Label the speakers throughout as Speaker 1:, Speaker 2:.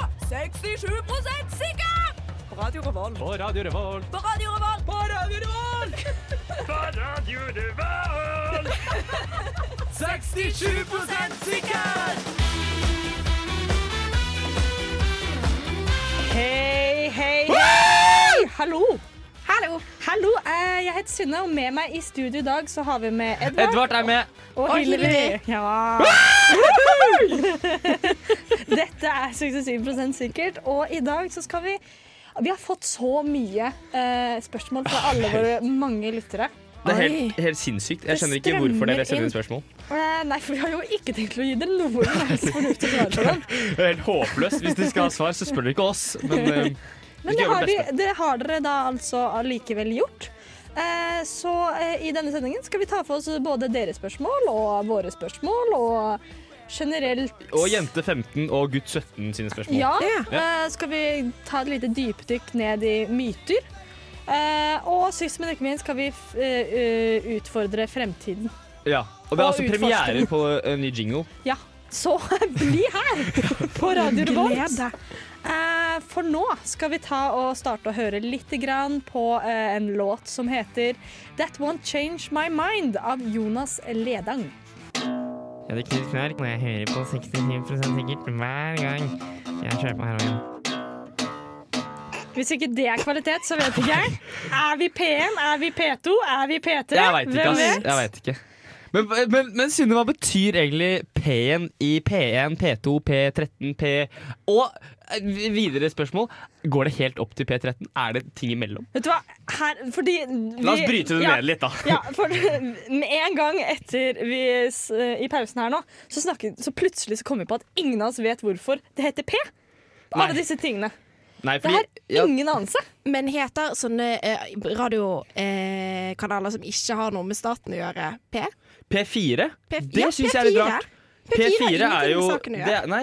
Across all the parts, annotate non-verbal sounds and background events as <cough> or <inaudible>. Speaker 1: 67 sikker! På Radio Revolt.
Speaker 2: På Radio Revolt.
Speaker 1: På Radio Revolt. På Radio Revolt! <laughs>
Speaker 2: 67
Speaker 1: sikker!
Speaker 3: Hei, hei, hei! Hallo! Hallo! eh, jeg heter Sunne, og med meg i studio i dag så har vi med Edvard,
Speaker 2: Edvard er med.
Speaker 3: og
Speaker 1: og
Speaker 3: Hillary.
Speaker 1: Hillary.
Speaker 3: Ja. Dette er 67 sikkert, og i dag så skal vi Vi har fått så mye eh, spørsmål fra alle våre mange lyttere.
Speaker 2: Det er
Speaker 1: Oi.
Speaker 2: helt, helt sinnssykt. Jeg
Speaker 3: Det
Speaker 2: skjønner ikke
Speaker 3: strømmer
Speaker 2: hvorfor dere sender
Speaker 3: inn.
Speaker 2: inn spørsmål.
Speaker 3: Eh, nei, for vi har jo ikke tenkt å gi dere noe som helst fornuftig svar på dem.
Speaker 2: Det er helt håpløst. Hvis dere skal ha svar, så spør dere ikke oss. <laughs> Men eh, vi
Speaker 3: Men
Speaker 2: skal
Speaker 3: det
Speaker 2: gjøre
Speaker 3: har,
Speaker 2: vårt beste.
Speaker 3: de, det har dere da altså allikevel gjort. Eh, så eh, i denne sendingen skal vi ta for oss både deres spørsmål og våre spørsmål og generelt
Speaker 2: Og jente 15 og gutt 17 sine spørsmål.
Speaker 3: Ja.
Speaker 2: Ja.
Speaker 3: Eh, skal vi ta et lite dypdykk ned i myter. Eh, og sist, men ikke minst, skal vi f eh, eh, utfordre fremtiden.
Speaker 2: Ja. Og det er
Speaker 3: Og
Speaker 2: altså
Speaker 3: utforsker.
Speaker 2: premiere på en ny jingle.
Speaker 3: Ja. Så <laughs> bli her på Radio Revolt. Eh, for nå skal vi ta og starte å høre litt grann på eh, en låt som heter That Won't Change My Mind av Jonas Ledang.
Speaker 4: Jeg hadde knust knark når jeg hører på 67 sikkert hver gang jeg kjører på heroin.
Speaker 3: Hvis ikke det er kvalitet, så vet ikke jeg. Er vi P1? Er vi P2? Er vi P3?
Speaker 2: Jeg veit ikke,
Speaker 3: Hvem
Speaker 2: ass.
Speaker 3: vet?
Speaker 2: Jeg vet ikke. Men, men, men Synne, hva betyr egentlig P1 i P1, P2, P13, P Og eh, videre spørsmål. Går det helt opp til P13? Er det ting imellom?
Speaker 3: Vet du hva? Her, fordi vi,
Speaker 2: La oss bryte det
Speaker 3: ja,
Speaker 2: ned litt, da.
Speaker 3: Ja, for <laughs> med en gang etter vi s- i pausen her nå, så, snakket, så plutselig så kom vi på at ingen av oss vet hvorfor det heter P. Alle
Speaker 2: Nei.
Speaker 3: disse tingene.
Speaker 2: Nei,
Speaker 3: Det
Speaker 2: fordi
Speaker 3: har
Speaker 2: ja,
Speaker 3: ingen anelse.
Speaker 5: Men heter sånne eh, radiokanaler eh, kanaler som ikke har noe med staten å gjøre, P?
Speaker 2: P4
Speaker 5: P
Speaker 2: Det syns jeg er litt rart.
Speaker 5: P4 har
Speaker 2: P4 er
Speaker 5: ingenting
Speaker 2: jo
Speaker 5: med saken å
Speaker 2: det,
Speaker 5: gjøre.
Speaker 2: er- Nei.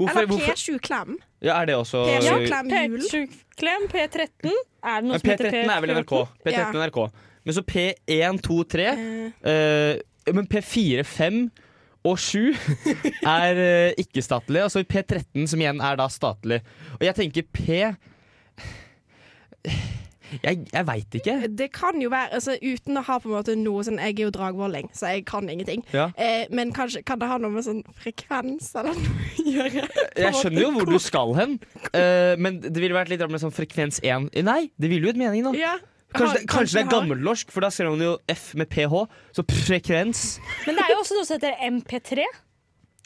Speaker 2: Hvorfor,
Speaker 5: Eller
Speaker 2: hvorfor?
Speaker 5: P7 Klem.
Speaker 2: Ja, er det også
Speaker 5: P7
Speaker 2: Men
Speaker 5: Klem Jul.
Speaker 3: P7-klem, P13 Er det noe som heter
Speaker 2: P13 er vel NRK. P13 er NRK. Men så P1, 2, 3
Speaker 5: Eh,
Speaker 2: Eh, men P4, 5 og <laughs> 7 er eh, ikke-statlig. Og så P13, som igjen er da statlig. Og jeg tenker P Jeg, jeg veit ikke.
Speaker 5: Eh, Det kan jo være altså, Uten å ha på en måte noe sånn Jeg er jo dragvolling, så jeg kan ingenting.
Speaker 2: Ja.
Speaker 5: Eh, men kanskje, kan det ha noe med sånn frekvens eller noe å gjøre?
Speaker 2: Jeg skjønner jo hvor du skal hen, eh, men det ville vært litt rart med sånn frekvens 1 Nei, det ville jo et mening, da.
Speaker 5: Ja.
Speaker 2: Kanskje det,
Speaker 5: Har-
Speaker 2: kanskje det er
Speaker 5: har-
Speaker 2: gammelnorsk, for da skrev man jo F med PH. Så frekvens.
Speaker 3: Men det er jo også noe som heter MP3.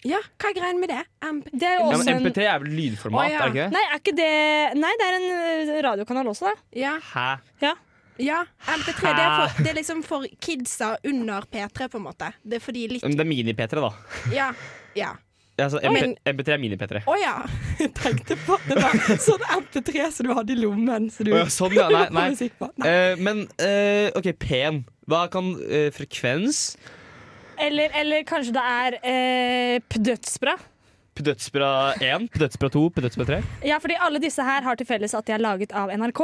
Speaker 5: Ja, hva er greia med det? MP.
Speaker 3: Det er jo
Speaker 2: Ja,
Speaker 3: også
Speaker 2: men
Speaker 3: en
Speaker 2: MP3 er vel lydformat,
Speaker 5: Å,
Speaker 2: er
Speaker 5: ja.
Speaker 2: det ikke det?
Speaker 3: Nei, er ikke det Nei, det er en ø, radiokanal også, da.
Speaker 5: Ja,
Speaker 2: Hæ?
Speaker 3: Ja.
Speaker 5: ja. MP3. Det er, for, det er liksom for kidsa under P3, på en måte. Det er fordi
Speaker 2: <laughs>
Speaker 5: litt
Speaker 2: Men Det er mini-P3, da.
Speaker 5: Ja. ja.
Speaker 2: Altså, MP, MP3 er mini-P3.
Speaker 5: Å ja. Jeg tenkte på det var sånn MP3 som du hadde i lommen. Så du
Speaker 2: Å ja, sånn, ja.
Speaker 5: <laughs>
Speaker 2: Nei, nei.
Speaker 5: på musikk på. Nei.
Speaker 2: Eh, men eh, OK, P-en. Hva kan eh, frekvens
Speaker 3: Eller, eller kanskje det er ø, dødsbra.
Speaker 2: På dødsbra 1, på dødsbra 2, på dødsbra 3?
Speaker 3: Ja, fordi alle disse her har til felles at de er laget av NRK.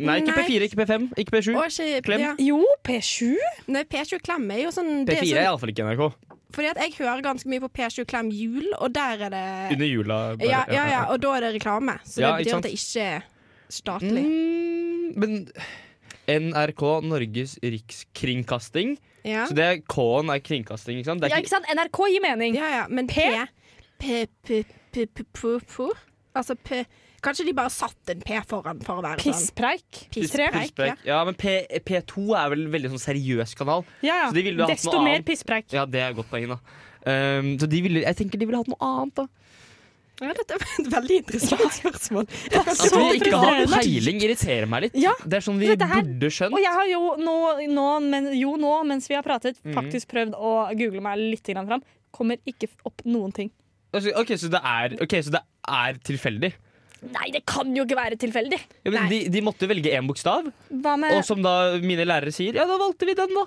Speaker 2: Nei, ikke
Speaker 5: Nei.
Speaker 2: P4, ikke P5, ikke P7.
Speaker 5: Og ikke,
Speaker 2: Klem.
Speaker 5: Ja.
Speaker 3: Jo, P7.
Speaker 5: Nei, P7 Klem er jo sånn, det
Speaker 2: P4 er
Speaker 5: er sånn
Speaker 2: iallfall ikke NRK.
Speaker 5: Fordi at jeg hører ganske mye på P7 Klem jul, og der er det
Speaker 2: Under jula. bare-
Speaker 5: ja, ja, ja, og da er det reklame. Så
Speaker 2: Ja,
Speaker 5: det
Speaker 2: ikke
Speaker 5: betyr
Speaker 2: sant?
Speaker 5: at det ikke er statlig.
Speaker 2: Mm, men NRK, Norges rikskringkasting.
Speaker 5: Ja.
Speaker 2: Så det er K-en er kringkasting, ikke sant? Det
Speaker 3: Ja,
Speaker 2: er
Speaker 3: ikke sant? NRK gir mening.
Speaker 5: ja, ja, men P P, P, P, P, P, P Altså P Kanskje de bare satt en P foran for å være sånn.
Speaker 3: Pisspreik. Tre.
Speaker 5: Pisspreik.
Speaker 2: Pisspreik. Ja, men P, P2 er vel en veldig sånn seriøs kanal.
Speaker 3: Ja,
Speaker 2: Så de ville
Speaker 3: ja.
Speaker 2: hatt noe
Speaker 3: Desto mer
Speaker 2: annet.
Speaker 3: <laughs> pisspreik.
Speaker 2: Ja, det er et godt poeng, da. Um, så de ville, jeg tenker de ville hatt noe annet, da.
Speaker 5: sånn. Ja, dette er et veldig interessant spørsmål. Jeg kan
Speaker 2: At vi
Speaker 3: Så
Speaker 2: Altså, ikke har
Speaker 3: frustrerende.
Speaker 2: peiling, irriterer meg litt.
Speaker 3: Ja,
Speaker 2: det er sånn vi
Speaker 3: for dette her-
Speaker 2: burde
Speaker 3: Og
Speaker 2: skjønt.
Speaker 3: jeg har jo nå, nå, men, jo nå mens vi har pratet,
Speaker 2: Mhm.
Speaker 3: faktisk prøvd å google meg litt grann fram. Kommer ikke opp noen ting.
Speaker 2: Altså, ok, så det er, ok, så det er tilfeldig.
Speaker 3: Nei, det kan jo ikke være tilfeldig!
Speaker 2: Ja, men de, de måtte velge én bokstav,
Speaker 3: Hva med
Speaker 2: og som da mine lærere sier, ja, da valgte vi den, da.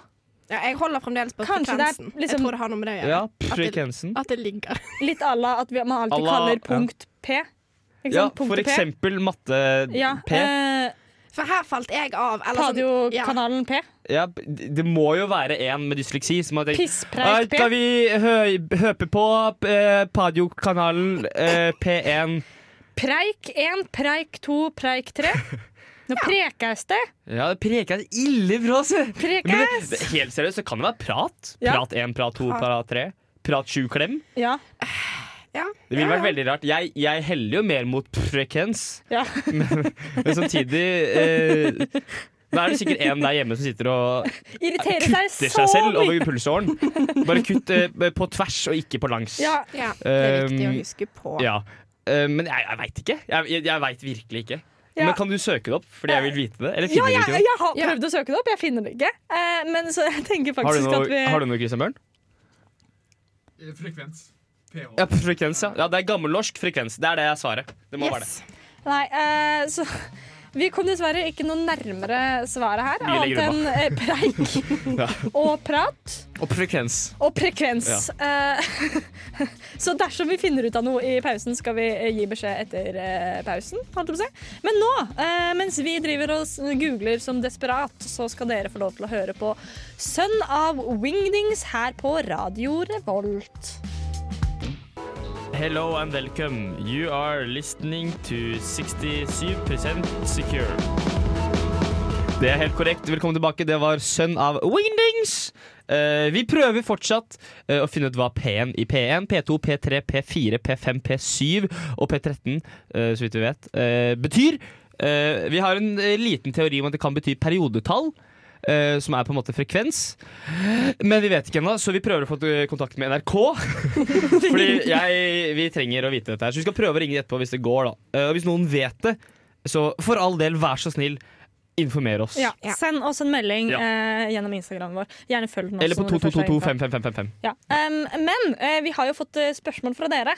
Speaker 5: Ja, jeg holder fremdeles på
Speaker 3: Kanskje det er liksom-
Speaker 5: frekvensen. Jeg tror det har noe med det å gjøre.
Speaker 2: Ja,
Speaker 5: At det,
Speaker 2: frekvensen.
Speaker 5: at det ligger.
Speaker 3: litt à la at vi- man alltid
Speaker 2: À la-
Speaker 3: kaller
Speaker 2: ja.
Speaker 3: punkt P? Ikke
Speaker 2: Ja,
Speaker 3: sant?
Speaker 2: for
Speaker 3: liksom Punktet P.
Speaker 2: eksempel
Speaker 3: Ja,
Speaker 2: matte-P.
Speaker 3: eh,
Speaker 5: For her falt jeg av. eller sånn-
Speaker 3: Altså,
Speaker 5: ja.
Speaker 3: Radiokanalen P.
Speaker 2: Ja, det må jo være en med dysleksi som har tenkt
Speaker 3: Pisspreik
Speaker 2: Skal
Speaker 3: P.
Speaker 2: vi hø høpe på eh, Padiokanalen eh, P1
Speaker 3: Preik 1, preik 2, preik
Speaker 2: <laughs>
Speaker 3: 3. Nå prekes det.
Speaker 2: Ja, det preker jeg ille bra, se! Men det,
Speaker 3: Prekes.
Speaker 2: det, helt seriøst, det kan jo være prat.
Speaker 3: Ja.
Speaker 2: Prat én, prat to, prat tre. Prat sju klem.
Speaker 3: Ja.
Speaker 5: Ja.
Speaker 2: Det ville vært veldig rart. Jeg, jeg heller jo mer mot frekvens,
Speaker 3: ja.
Speaker 2: men samtidig eh, Da er det sikkert en der hjemme som sitter og
Speaker 3: Irriterer
Speaker 2: kutter
Speaker 3: seg så
Speaker 2: seg selv
Speaker 3: mye.
Speaker 2: over pulsåren. Bare kutt eh, på tvers og ikke på langs.
Speaker 3: Ja.
Speaker 5: ja. Det er viktig å
Speaker 2: Um,
Speaker 5: huske på.
Speaker 2: Ja. Eh, men jeg, jeg veit ikke. Jeg, jeg, jeg veit virkelig ikke.
Speaker 3: Ja.
Speaker 2: Men kan du søke det opp? Fordi jeg vil vite det. Eller
Speaker 3: Ja,
Speaker 2: finner du
Speaker 3: jeg,
Speaker 2: ikke det?
Speaker 3: jeg har prøvd å søke det opp, jeg finner det ikke. Eh, men så jeg tenker
Speaker 2: Har du
Speaker 3: faktisk
Speaker 2: noe,
Speaker 3: at vi
Speaker 2: har du noe Christian Bjørn?
Speaker 6: Eh, Frekvens. PH.
Speaker 2: Ja, frekvens, ja. ja. Det er gammelnorsk frekvens. Det er det jeg svarer. Det må være det.
Speaker 5: Yes.
Speaker 3: Nei, eh, så <laughs> vi kom dessverre ikke noe nærmere svaret her,
Speaker 2: Vi
Speaker 3: annet
Speaker 2: legger
Speaker 3: enn eh, preik
Speaker 2: <laughs>
Speaker 3: <laughs>
Speaker 2: Ja.
Speaker 3: og prat
Speaker 2: Og frekvens.
Speaker 3: og prekvens. Eh, <laughs> så dersom vi finner ut av noe i pausen, skal vi eh, gi beskjed etter eh, pausen. Holdt jeg på å si. Men nå, eh, mens vi driver og s- googler som desperat, så skal dere få lov til å høre på Sønn av Wingdings her på Radio Revolt.
Speaker 2: Hello and welcome. You are listening to 67% secure. Det er helt korrekt. Velkommen tilbake. Det var sønn av Wingdings. Eh, vi prøver fortsatt eh, å finne ut hva P-en i P1, P2, P3, P4, P5, P7 og P13, eh, så vidt vi vet, eh, betyr. Eh, vi har en eh, liten teori om at det kan bety periodetall, eh, som er på en måte frekvens. Men vi vet ikke ennå, så vi prøver å få eh, kontakt med NRK. <laughs> Fordi jeg, vi trenger å vite dette her Så vi skal prøve å ringe etterpå hvis det går da Eh, Og hvis noen vet det Så for all del, vær så snill Informer oss
Speaker 3: Ja,
Speaker 5: Ja.
Speaker 3: Send oss en melding
Speaker 2: Ja.
Speaker 3: eh, gjennom Instagramen vår. Gjerne følg den også.
Speaker 2: Eller på
Speaker 3: når du først er inne
Speaker 2: 222255555
Speaker 3: Ja. Um, men eh, vi har jo fått eh, spørsmål fra dere.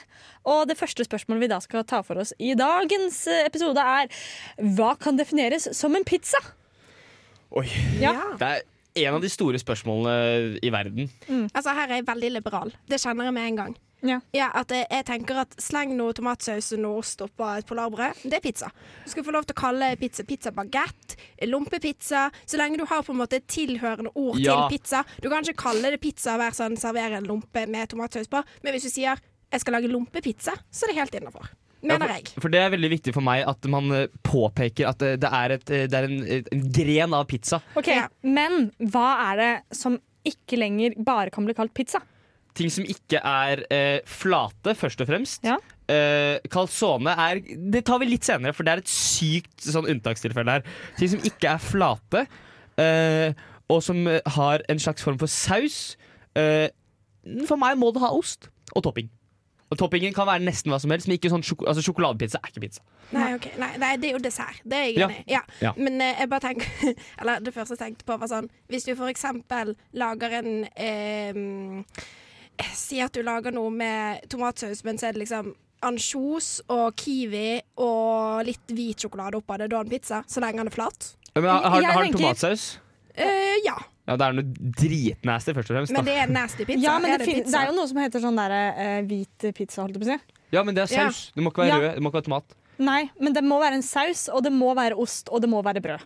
Speaker 3: Og det første spørsmålet vi da skal ta for oss i dagens eh, episode, er hva kan defineres som en pizza?
Speaker 2: Oi,
Speaker 3: Ja.
Speaker 2: det er en av de store spørsmålene i verden
Speaker 5: Altså, her er jeg veldig liberal. Det kjenner jeg med en gang.
Speaker 3: Ja.
Speaker 5: at jeg, jeg tenker at Sleng noe tomatsaus og noe ost oppå et polarbrød. Det er pizza. Du skal få lov til å kalle pizza pizza bagett, lompepizza Så lenge du har på en måte et tilhørende ord
Speaker 2: Ja.
Speaker 5: til pizza. Du kan ikke kalle det pizza hver sånn servere en lompe med tomatsaus på, men hvis du sier 'jeg skal lage lompepizza', så er det helt innafor. Mener
Speaker 2: Ja,
Speaker 5: jeg.
Speaker 2: for, for det er veldig viktig for meg At man eh, påpeker at eh, det er, et, eh, det er en, eh, en gren av pizza
Speaker 3: Ok,
Speaker 5: Ja.
Speaker 3: Men hva er det som ikke lenger bare kan bli kalt pizza?
Speaker 2: Ting som ikke er eh, flate Først og fremst
Speaker 3: Ja.
Speaker 2: Eh, Calzone er Det tar vi litt senere, for det er et sykt sånn unntakstilfelle her. Ting som ikke er flate, eh, og som eh, har en slags form for saus. Eh, for meg må det ha ost og topping. Og Toppingen kan være nesten hva som helst, men ikke sånn sjoko altså, sjokoladepizza er ikke pizza.
Speaker 5: Nei, ok. Nei, nei, det er jo dessert. Det er jeg
Speaker 2: Ja.
Speaker 5: enig i. Ja.
Speaker 2: Ja.
Speaker 5: Men eh, jeg bare tenker <laughs> Eller det første jeg tenkte på, var sånn Hvis du for eksempel lager en eh, Si at du lager noe med tomatsaus, men så er det liksom ansjos og kiwi og litt hvit sjokolade oppå. Det er da en pizza, så lenge den er flat.
Speaker 2: Ja, Men har, har,
Speaker 3: Jeg
Speaker 2: har den
Speaker 3: tenker-
Speaker 2: tomatsaus?
Speaker 5: Eh, ja.
Speaker 2: Ja, det er noe dritnasty, først og fremst. Da.
Speaker 5: Men det er nasty pizza.
Speaker 3: Ja, men
Speaker 5: Er
Speaker 3: det, fin- det
Speaker 5: pizza?
Speaker 3: er jo noe som heter sånn der, eh, hvit pizza, holdt jeg på å si.
Speaker 2: Ja, men det er saus. Det må ikke være
Speaker 3: Ja.
Speaker 2: rød, det må ikke være tomat.
Speaker 3: Nei, men det må være en saus, og det må være ost, og det må være brød.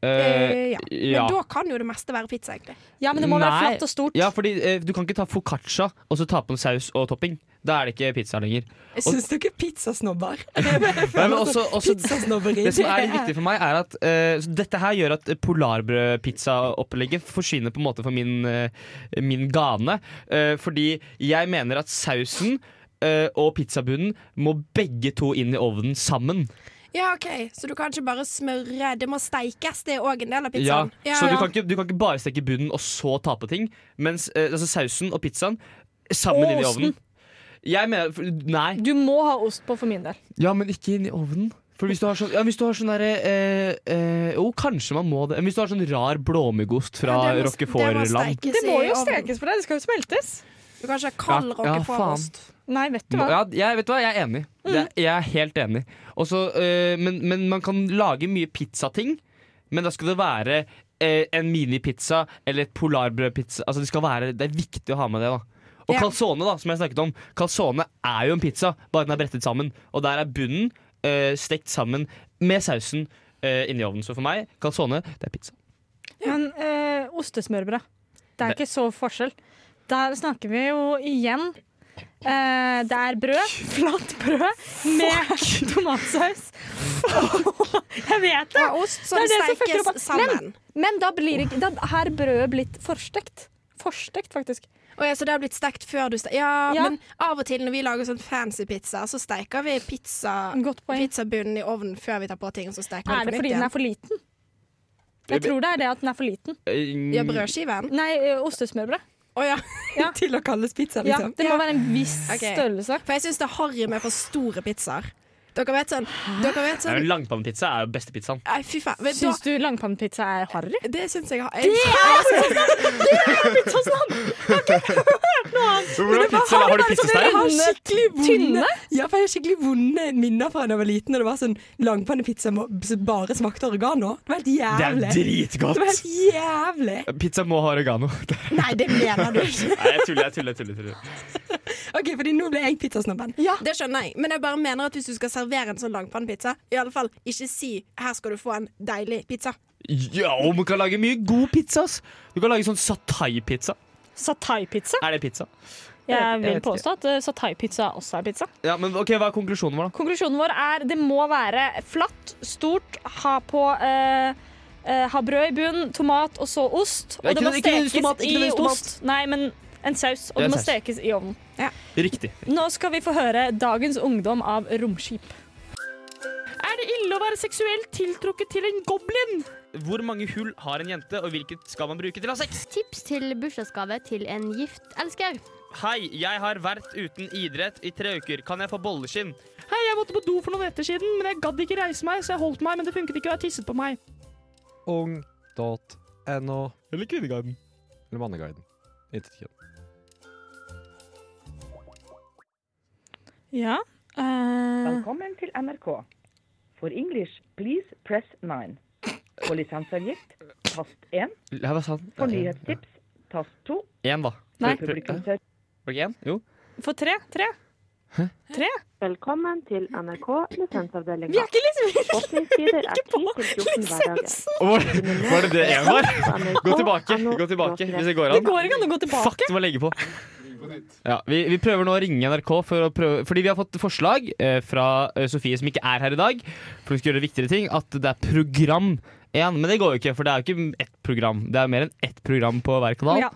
Speaker 2: Eh,
Speaker 5: Eh, ja.
Speaker 2: ja.
Speaker 5: Men da kan jo det meste være pizza, egentlig.
Speaker 3: Ja, men det må være
Speaker 2: Nei.
Speaker 3: flatt og stort.
Speaker 2: ja, fordi eh, du kan ikke ta foccaccia og så ta på en saus og topping. Da er det ikke pizza lenger.
Speaker 7: Jeg syns dere er pizzasnobber.
Speaker 2: <laughs> Nei, men også, også,
Speaker 7: Pizzasnobberi.
Speaker 2: det som er litt viktig for meg, er at eh, så dette her gjør at polarbrødpizzaopplegget forsvinner på en måte for min, eh, min gane. eh, fordi jeg mener at sausen eh, og pizzabunnen må begge to inn i ovnen sammen.
Speaker 5: Ja, OK, så du kan ikke bare smøre. Det må steikes, det er òg en del av pizzaen.
Speaker 2: Ja, så du kan, ikke, du kan ikke bare steke bunnen og så ta på ting. Mens eh, altså sausen og pizzaen sammen
Speaker 3: Og
Speaker 2: inn i
Speaker 3: osten.
Speaker 2: ovnen. Jeg mener for- Nei.
Speaker 3: Du må ha ost på for min del.
Speaker 2: Ja, men ikke inn i ovnen. For hvis du har sånn, ja, hvis du har sånn derre eh, eh, Jo, kanskje man må det. Men Hvis du har sånn rar blåmuggost fra
Speaker 5: Ja, det må- det må
Speaker 2: Rockefòrland
Speaker 5: steikes
Speaker 3: Det må
Speaker 5: i
Speaker 3: jo
Speaker 5: ovnen.
Speaker 3: stekes for deg, det skal jo smeltes.
Speaker 5: Du kan ikke ha kald
Speaker 2: Ja, ja,
Speaker 5: rockefòrost.
Speaker 3: Nei, vet du hva.
Speaker 2: ja, jeg, vet du hva, jeg er enig. Det er- Jeg er helt enig. Også, eh, men, men man kan lage mye pizzating. Men da skal det være eh, en minipizza eller et polarbrødpizza. Altså, det, skal være, det er viktig å ha med det. da Og
Speaker 5: Ja.
Speaker 2: calzone, da, som jeg snakket om. Calzone er jo en pizza, bare den er brettet sammen. Og der er bunnen eh, stekt sammen med sausen eh, inni ovnen. Så for meg, calzone, det er pizza.
Speaker 3: Men eh, ostesmørbrød, det er
Speaker 2: Det-
Speaker 3: ikke så forskjell. Der snakker vi jo igjen Eh, det er brød, flatt brød, med tomatsaus. <laughs> Jeg vet det!
Speaker 5: Og ost som
Speaker 3: Det er det som fucker opp
Speaker 5: stekes
Speaker 3: alt.
Speaker 5: sammen.
Speaker 3: Men da blir ikke Da har brødet blitt forstekt. Forstekt, faktisk.
Speaker 5: Å ja, så det har blitt stekt før du ste ja,
Speaker 3: Ja.
Speaker 5: men av og til når vi lager sånn fancy pizza, så steker vi pizza
Speaker 3: Godt poeng.
Speaker 5: pizzabunnen i ovnen før vi tar på ting, og så steker
Speaker 3: Er
Speaker 5: vi
Speaker 3: det
Speaker 5: på
Speaker 3: fordi
Speaker 5: nytt
Speaker 3: den
Speaker 5: igjen.
Speaker 3: er for liten? Jeg tror det er det at den er for liten.
Speaker 2: Øh,
Speaker 5: Ja, brødskiven?
Speaker 3: Nei, ø, ostesmørbrød.
Speaker 5: Å ja. <laughs>
Speaker 7: Til å kalles pizza,
Speaker 3: Ja,
Speaker 7: liksom.
Speaker 3: det må være en viss
Speaker 5: Ok.
Speaker 3: størrelse.
Speaker 5: For jeg syns det er harry med for store pizzaer. Dere vet sånn, dere vet
Speaker 2: Ja,
Speaker 5: sånn
Speaker 2: men Langpannepizza er jo beste pizzaen.
Speaker 5: Nei, fy faen. Vet du hva?
Speaker 3: Syns du langpannepizza er harry?
Speaker 5: Det syns jeg har
Speaker 2: Hvordan pizza, har du pizzasteg?
Speaker 7: Jeg har
Speaker 3: Runde,
Speaker 7: skikkelig vonde
Speaker 3: tynne?
Speaker 7: Ja, for jeg har skikkelig vonde minner fra da jeg var liten. Og det var sånn langpannepizza må- som bare smakte oregano. Det var helt
Speaker 2: Det er
Speaker 7: jævlig. Det var
Speaker 2: dritgodt!
Speaker 7: helt jævlig.
Speaker 2: Pizza må ha oregano. <laughs>
Speaker 7: Nei, det mener du ikke.
Speaker 2: Nei, jeg tuller, jeg tuller. jeg tuller, jeg tuller.
Speaker 7: Ok, fordi nå ble jeg pizzasnobben.
Speaker 5: Det skjønner jeg, men jeg bare mener at hvis du skal servere en sånn langpannepizza, i alle fall ikke si 'her skal du få en deilig pizza'.
Speaker 2: Ja, og man kan lage mye god pizza. ass. Du kan lage sånn satai-pizza.
Speaker 3: Satai-pizza?
Speaker 2: Er det pizza?
Speaker 3: Jeg
Speaker 2: jeg
Speaker 3: vil
Speaker 2: vet ikke.
Speaker 3: påstå at ø, satai-pizza også er pizza.
Speaker 2: Ja, men ok, Hva er konklusjonen vår, da?
Speaker 3: Konklusjonen vår er det må være flatt, stort, ha på eh, eh, Ha brød i bunnen, tomat og så ost. Og
Speaker 2: Ja, ikke
Speaker 3: det må
Speaker 2: nødvendigvis
Speaker 3: stekes
Speaker 2: tomat, ikke
Speaker 3: i
Speaker 2: nødvendigvis tomat.
Speaker 3: ost. Nei, men en saus.
Speaker 2: Ja,
Speaker 3: Og det må
Speaker 2: saus.
Speaker 3: stekes i ovnen.
Speaker 2: Riktig.
Speaker 3: Nå skal vi få høre Dagens ungdom av Romskip. Er det ille å være seksuelt tiltrukket til en goblin?
Speaker 2: Hvor mange hull har en jente, og hvilket skal man bruke til å ha sex?
Speaker 8: Tips til bursdagsgave til en gift elsker.
Speaker 2: Hei, jeg har vært uten idrett i tre uker. Kan jeg få bolleskinn?
Speaker 4: Hei, jeg måtte på do for noen netter siden, men jeg gadd ikke reise meg, så jeg holdt meg, men det funket ikke, og jeg tisset på meg.
Speaker 9: ung.no
Speaker 2: Eller Kvinneguiden.
Speaker 9: eller Manneguiden. Intet kjønn.
Speaker 3: Ja. eh,
Speaker 10: Velkommen til NRK. For English, please press 9. For lisensavgift, tast 1.
Speaker 2: Ja, hva sa han?
Speaker 10: For nyhetstips, tast 2.
Speaker 2: Én, da.
Speaker 3: Nei.
Speaker 2: Prøv- prøv- Var det ikke én? Jo.
Speaker 3: for tre. Tre.
Speaker 10: Velkommen til NRK lisensavdelinga.
Speaker 3: Vi er ikke liksom
Speaker 10: Åpningstider er 10 til 14 hverdager.
Speaker 2: Var, var det det én var? Gå tilbake, gå tilbake, hvis det går
Speaker 3: Det
Speaker 2: an.
Speaker 3: går ikke an å gå tilbake.
Speaker 2: Fuck, det må jeg legge på.
Speaker 6: På nytt.
Speaker 2: Ja, vi, vi prøver nå å ringe NRK, for å prøve, fordi vi har fått forslag eh, fra eh, Sofie, som ikke er her i dag, for hun skal gjøre viktigere ting, at det er program én. Men det går jo ikke, for det er jo ikke ett program. Det er mer enn ett program på hver kanal.
Speaker 3: Ja.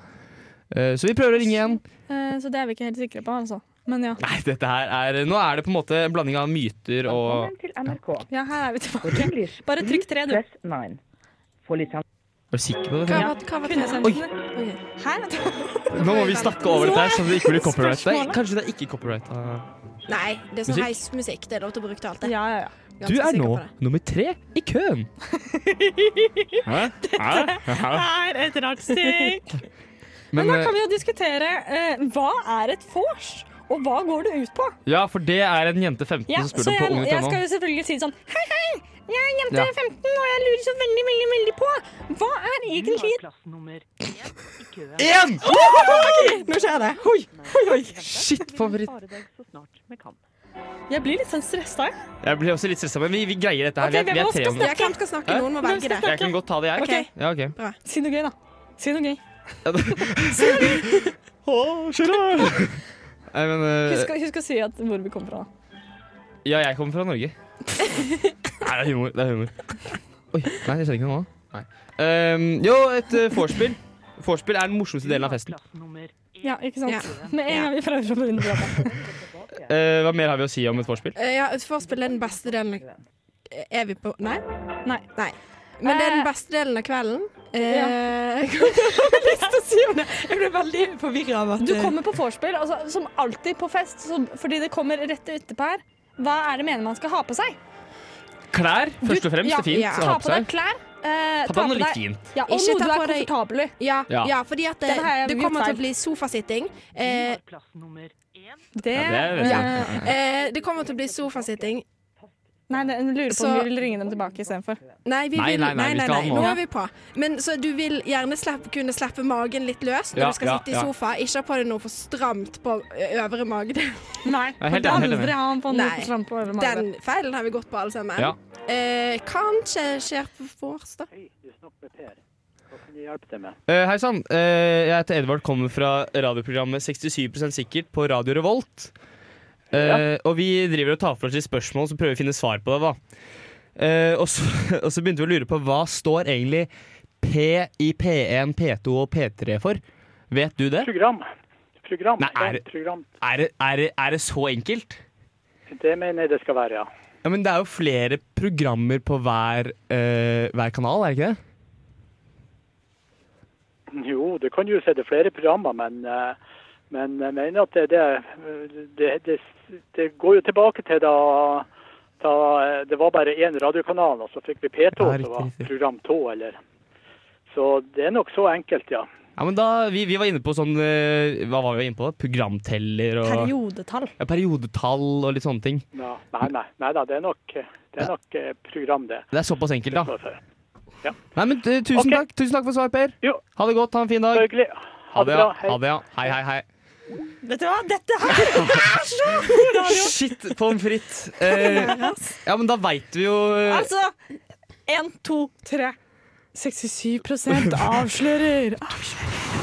Speaker 2: Eh, så vi prøver å ringe igjen.
Speaker 3: eh, så det er vi ikke helt sikre på, altså. Men ja.
Speaker 2: Nei, dette her er Nå er det på en måte en blanding av myter og
Speaker 10: Velkommen til NRK.
Speaker 3: ja, her er vi
Speaker 10: For
Speaker 3: tilbake.
Speaker 10: English,
Speaker 3: Bare trykk tre, du.
Speaker 10: press 9. For lisens...
Speaker 2: Er du sikker på det?
Speaker 5: Hva
Speaker 3: Ja.
Speaker 5: var, hva var
Speaker 3: Kunne
Speaker 5: det?
Speaker 3: sendt
Speaker 2: Oi.
Speaker 3: den. Her?
Speaker 2: Nå må vi snakke over dette her, så det ikke blir copyright. Nei,
Speaker 3: Spørsmålet.
Speaker 2: kanskje det er ikke copyright.
Speaker 5: Nei, det er sånn
Speaker 2: Musikk?
Speaker 5: heismusikk. Det er lov til å bruke til alt, det.
Speaker 3: Ja, ja, ja.
Speaker 2: Du
Speaker 5: Ganske
Speaker 2: er
Speaker 5: sikker
Speaker 2: nå
Speaker 5: på det.
Speaker 2: nummer tre i køen. <laughs> Hæ? Hæ?
Speaker 3: er et rart stikk.
Speaker 2: Men,
Speaker 3: Men, da
Speaker 2: eh,
Speaker 3: kan vi jo diskutere eh, hva er et vors, og hva går det ut på?
Speaker 2: eh, ja, for det er en jente 15
Speaker 3: Ja,
Speaker 2: som
Speaker 3: så
Speaker 2: spør om på
Speaker 3: jeg, jeg skal
Speaker 2: unge.no.
Speaker 3: jo selvfølgelig si sånn Hei, hei, jeg er jente
Speaker 2: Ja.
Speaker 3: 15, og jeg lurer så veldig, veldig, veldig på Hva er egentlig et
Speaker 2: Én!
Speaker 7: Nå skjer det. Hoi, hoi, hoi.
Speaker 2: Shit, favoritt.
Speaker 3: Jeg blir litt sånn stressa, jeg.
Speaker 2: Jeg blir også litt stressa, men vi, vi greier dette her.
Speaker 3: Ok,
Speaker 2: vi, er, vi er
Speaker 3: hvem
Speaker 2: tre
Speaker 3: skal
Speaker 2: om det.
Speaker 5: Ja, hvem skal snakke? Noen må
Speaker 3: Hvem
Speaker 5: velge
Speaker 3: skal
Speaker 5: det.
Speaker 2: Jeg kan godt ta det, jeg.
Speaker 5: Ok.
Speaker 2: Ja, ok.
Speaker 3: Si noe gøy, da. Si noe gøy.
Speaker 2: Eh. <laughs>
Speaker 3: <laughs>
Speaker 2: Nei, men eh,
Speaker 3: Husk, å- husk å si at hvor vi kommer fra. da.
Speaker 2: Ja, jeg kommer fra
Speaker 3: <laughs>
Speaker 2: Norge. Nei, det er humor. Det er humor. Oi, nei, jeg skjønner ikke noe nå. Nei. Ehm, jo, et eh, vorspiel. Vorspiel er den morsomste delen av festen.
Speaker 3: Ja, ikke sant?
Speaker 5: Ja.
Speaker 3: Med en gang vi prøver å begynne å prate.
Speaker 2: Eh, hva mer har vi å si om et vorspiel?
Speaker 5: Eh, Ja, et vorspiel er den beste delen av Eh, Er vi på Nei?
Speaker 3: Nei.
Speaker 5: Men det er
Speaker 3: Eh.
Speaker 5: den beste delen av kvelden. Eh, <laughs>
Speaker 7: Jeg ble veldig forvirra av at
Speaker 3: Du
Speaker 5: Eh.
Speaker 3: kommer på vorspiel, altså, som alltid på fest, så, fordi det kommer rett etterpå her. Hva er det mener man skal ha på seg?
Speaker 2: Klær, først og fremst.
Speaker 3: ja,
Speaker 2: det er fint
Speaker 5: ja.
Speaker 2: å ha
Speaker 3: Ta
Speaker 2: på
Speaker 3: på deg
Speaker 2: seg.
Speaker 3: klær. eh,
Speaker 2: Ta på deg noe litt fint.
Speaker 3: Ja, og
Speaker 5: Ikke
Speaker 3: noe
Speaker 5: ta
Speaker 3: du
Speaker 5: på
Speaker 3: er
Speaker 5: deg-
Speaker 3: komfortabel i.
Speaker 5: Ja,
Speaker 2: Ja.
Speaker 5: ja, fordi at det,
Speaker 3: Den har jeg
Speaker 5: det
Speaker 3: gjort
Speaker 5: kommer til
Speaker 3: feil.
Speaker 5: å bli sofasitting. Eh,
Speaker 3: Det,
Speaker 2: Ja, det er-
Speaker 3: eh,
Speaker 5: eh, det kommer til å bli sofasitting.
Speaker 3: Nei, det- hun lurer på om
Speaker 5: Så-
Speaker 3: vi vil ringe dem tilbake istedenfor.
Speaker 5: Nei, vi
Speaker 2: Nei,
Speaker 5: vil,
Speaker 2: nei, nei, vi skal ha den
Speaker 5: Nå
Speaker 2: nå.
Speaker 5: er vi på. Men så du vil gjerne slippe, kunne slippe magen litt løs når
Speaker 2: Ja,
Speaker 5: du skal
Speaker 2: ja,
Speaker 5: sitte i
Speaker 2: ja.
Speaker 5: sofa. Ikke ha på deg noe for stramt på ø, øvre mage.
Speaker 3: Nei,
Speaker 2: er
Speaker 3: for
Speaker 2: helt enig,
Speaker 3: det
Speaker 2: helt
Speaker 3: andre
Speaker 2: enig.
Speaker 3: har han på
Speaker 5: Nei.
Speaker 3: noe strøm på hele magen.
Speaker 5: Den feilen har vi gått på, alle sammen.
Speaker 2: Ja. <clears throat>
Speaker 5: Eh, kanskje skjer på vors, da.
Speaker 11: hjelpe til med?
Speaker 2: Eh, Hei sann. Eh, jeg heter Edvard, kommer fra radioprogrammet 67 sikkert på Radio Revolt. Eh, Og vi driver og tar for oss litt spørsmål så prøver vi å finne svar på det. da. Eh, og, så, <laughs> og så begynte vi å lure på hva står egentlig P i P1, P2 og P3 for? Vet du det?
Speaker 11: Program. Program.
Speaker 2: Nei, er
Speaker 11: Et program.
Speaker 2: Er det, er, det, er det så enkelt?
Speaker 11: Det mener jeg det skal være, ja.
Speaker 2: Ja, Men det er jo flere programmer på hver, eh, hver kanal, er det ikke det?
Speaker 11: Jo, du kan jo se det er flere programmer, men, eh, men jeg mener at det, det, det, det, det går jo tilbake til da, da eh, det var bare én radiokanal, og så fikk vi P2,
Speaker 2: Ja, riktig,
Speaker 11: som var
Speaker 2: riktig.
Speaker 11: program 2, eller Så det er nok så enkelt, ja.
Speaker 2: Ja, men da, Vi, vi var inne på sånn eh, Hva var vi inne på? Programteller og
Speaker 3: Periodetall.
Speaker 2: Ja, periodetall og litt sånne ting.
Speaker 11: Ja, nei, nei, nei da, det er nok, det er nok eh, program, det.
Speaker 2: Det er såpass enkelt, da.
Speaker 11: Ja.
Speaker 2: Nei, men eh, tusen takk Tusen takk for svar, Per. Ha det godt, ha en fin dag. Ha det, ja. Ha det, ja. Hei, hei, hei.
Speaker 3: Vet du hva, dette
Speaker 2: <laughs>
Speaker 3: her er så god radio!
Speaker 2: Shit, pommes frites. <laughs> Eh, ja, men da veit vi jo eh,
Speaker 3: Altså, én, to, tre. 67
Speaker 2: <laughs>
Speaker 3: avslører. avslører.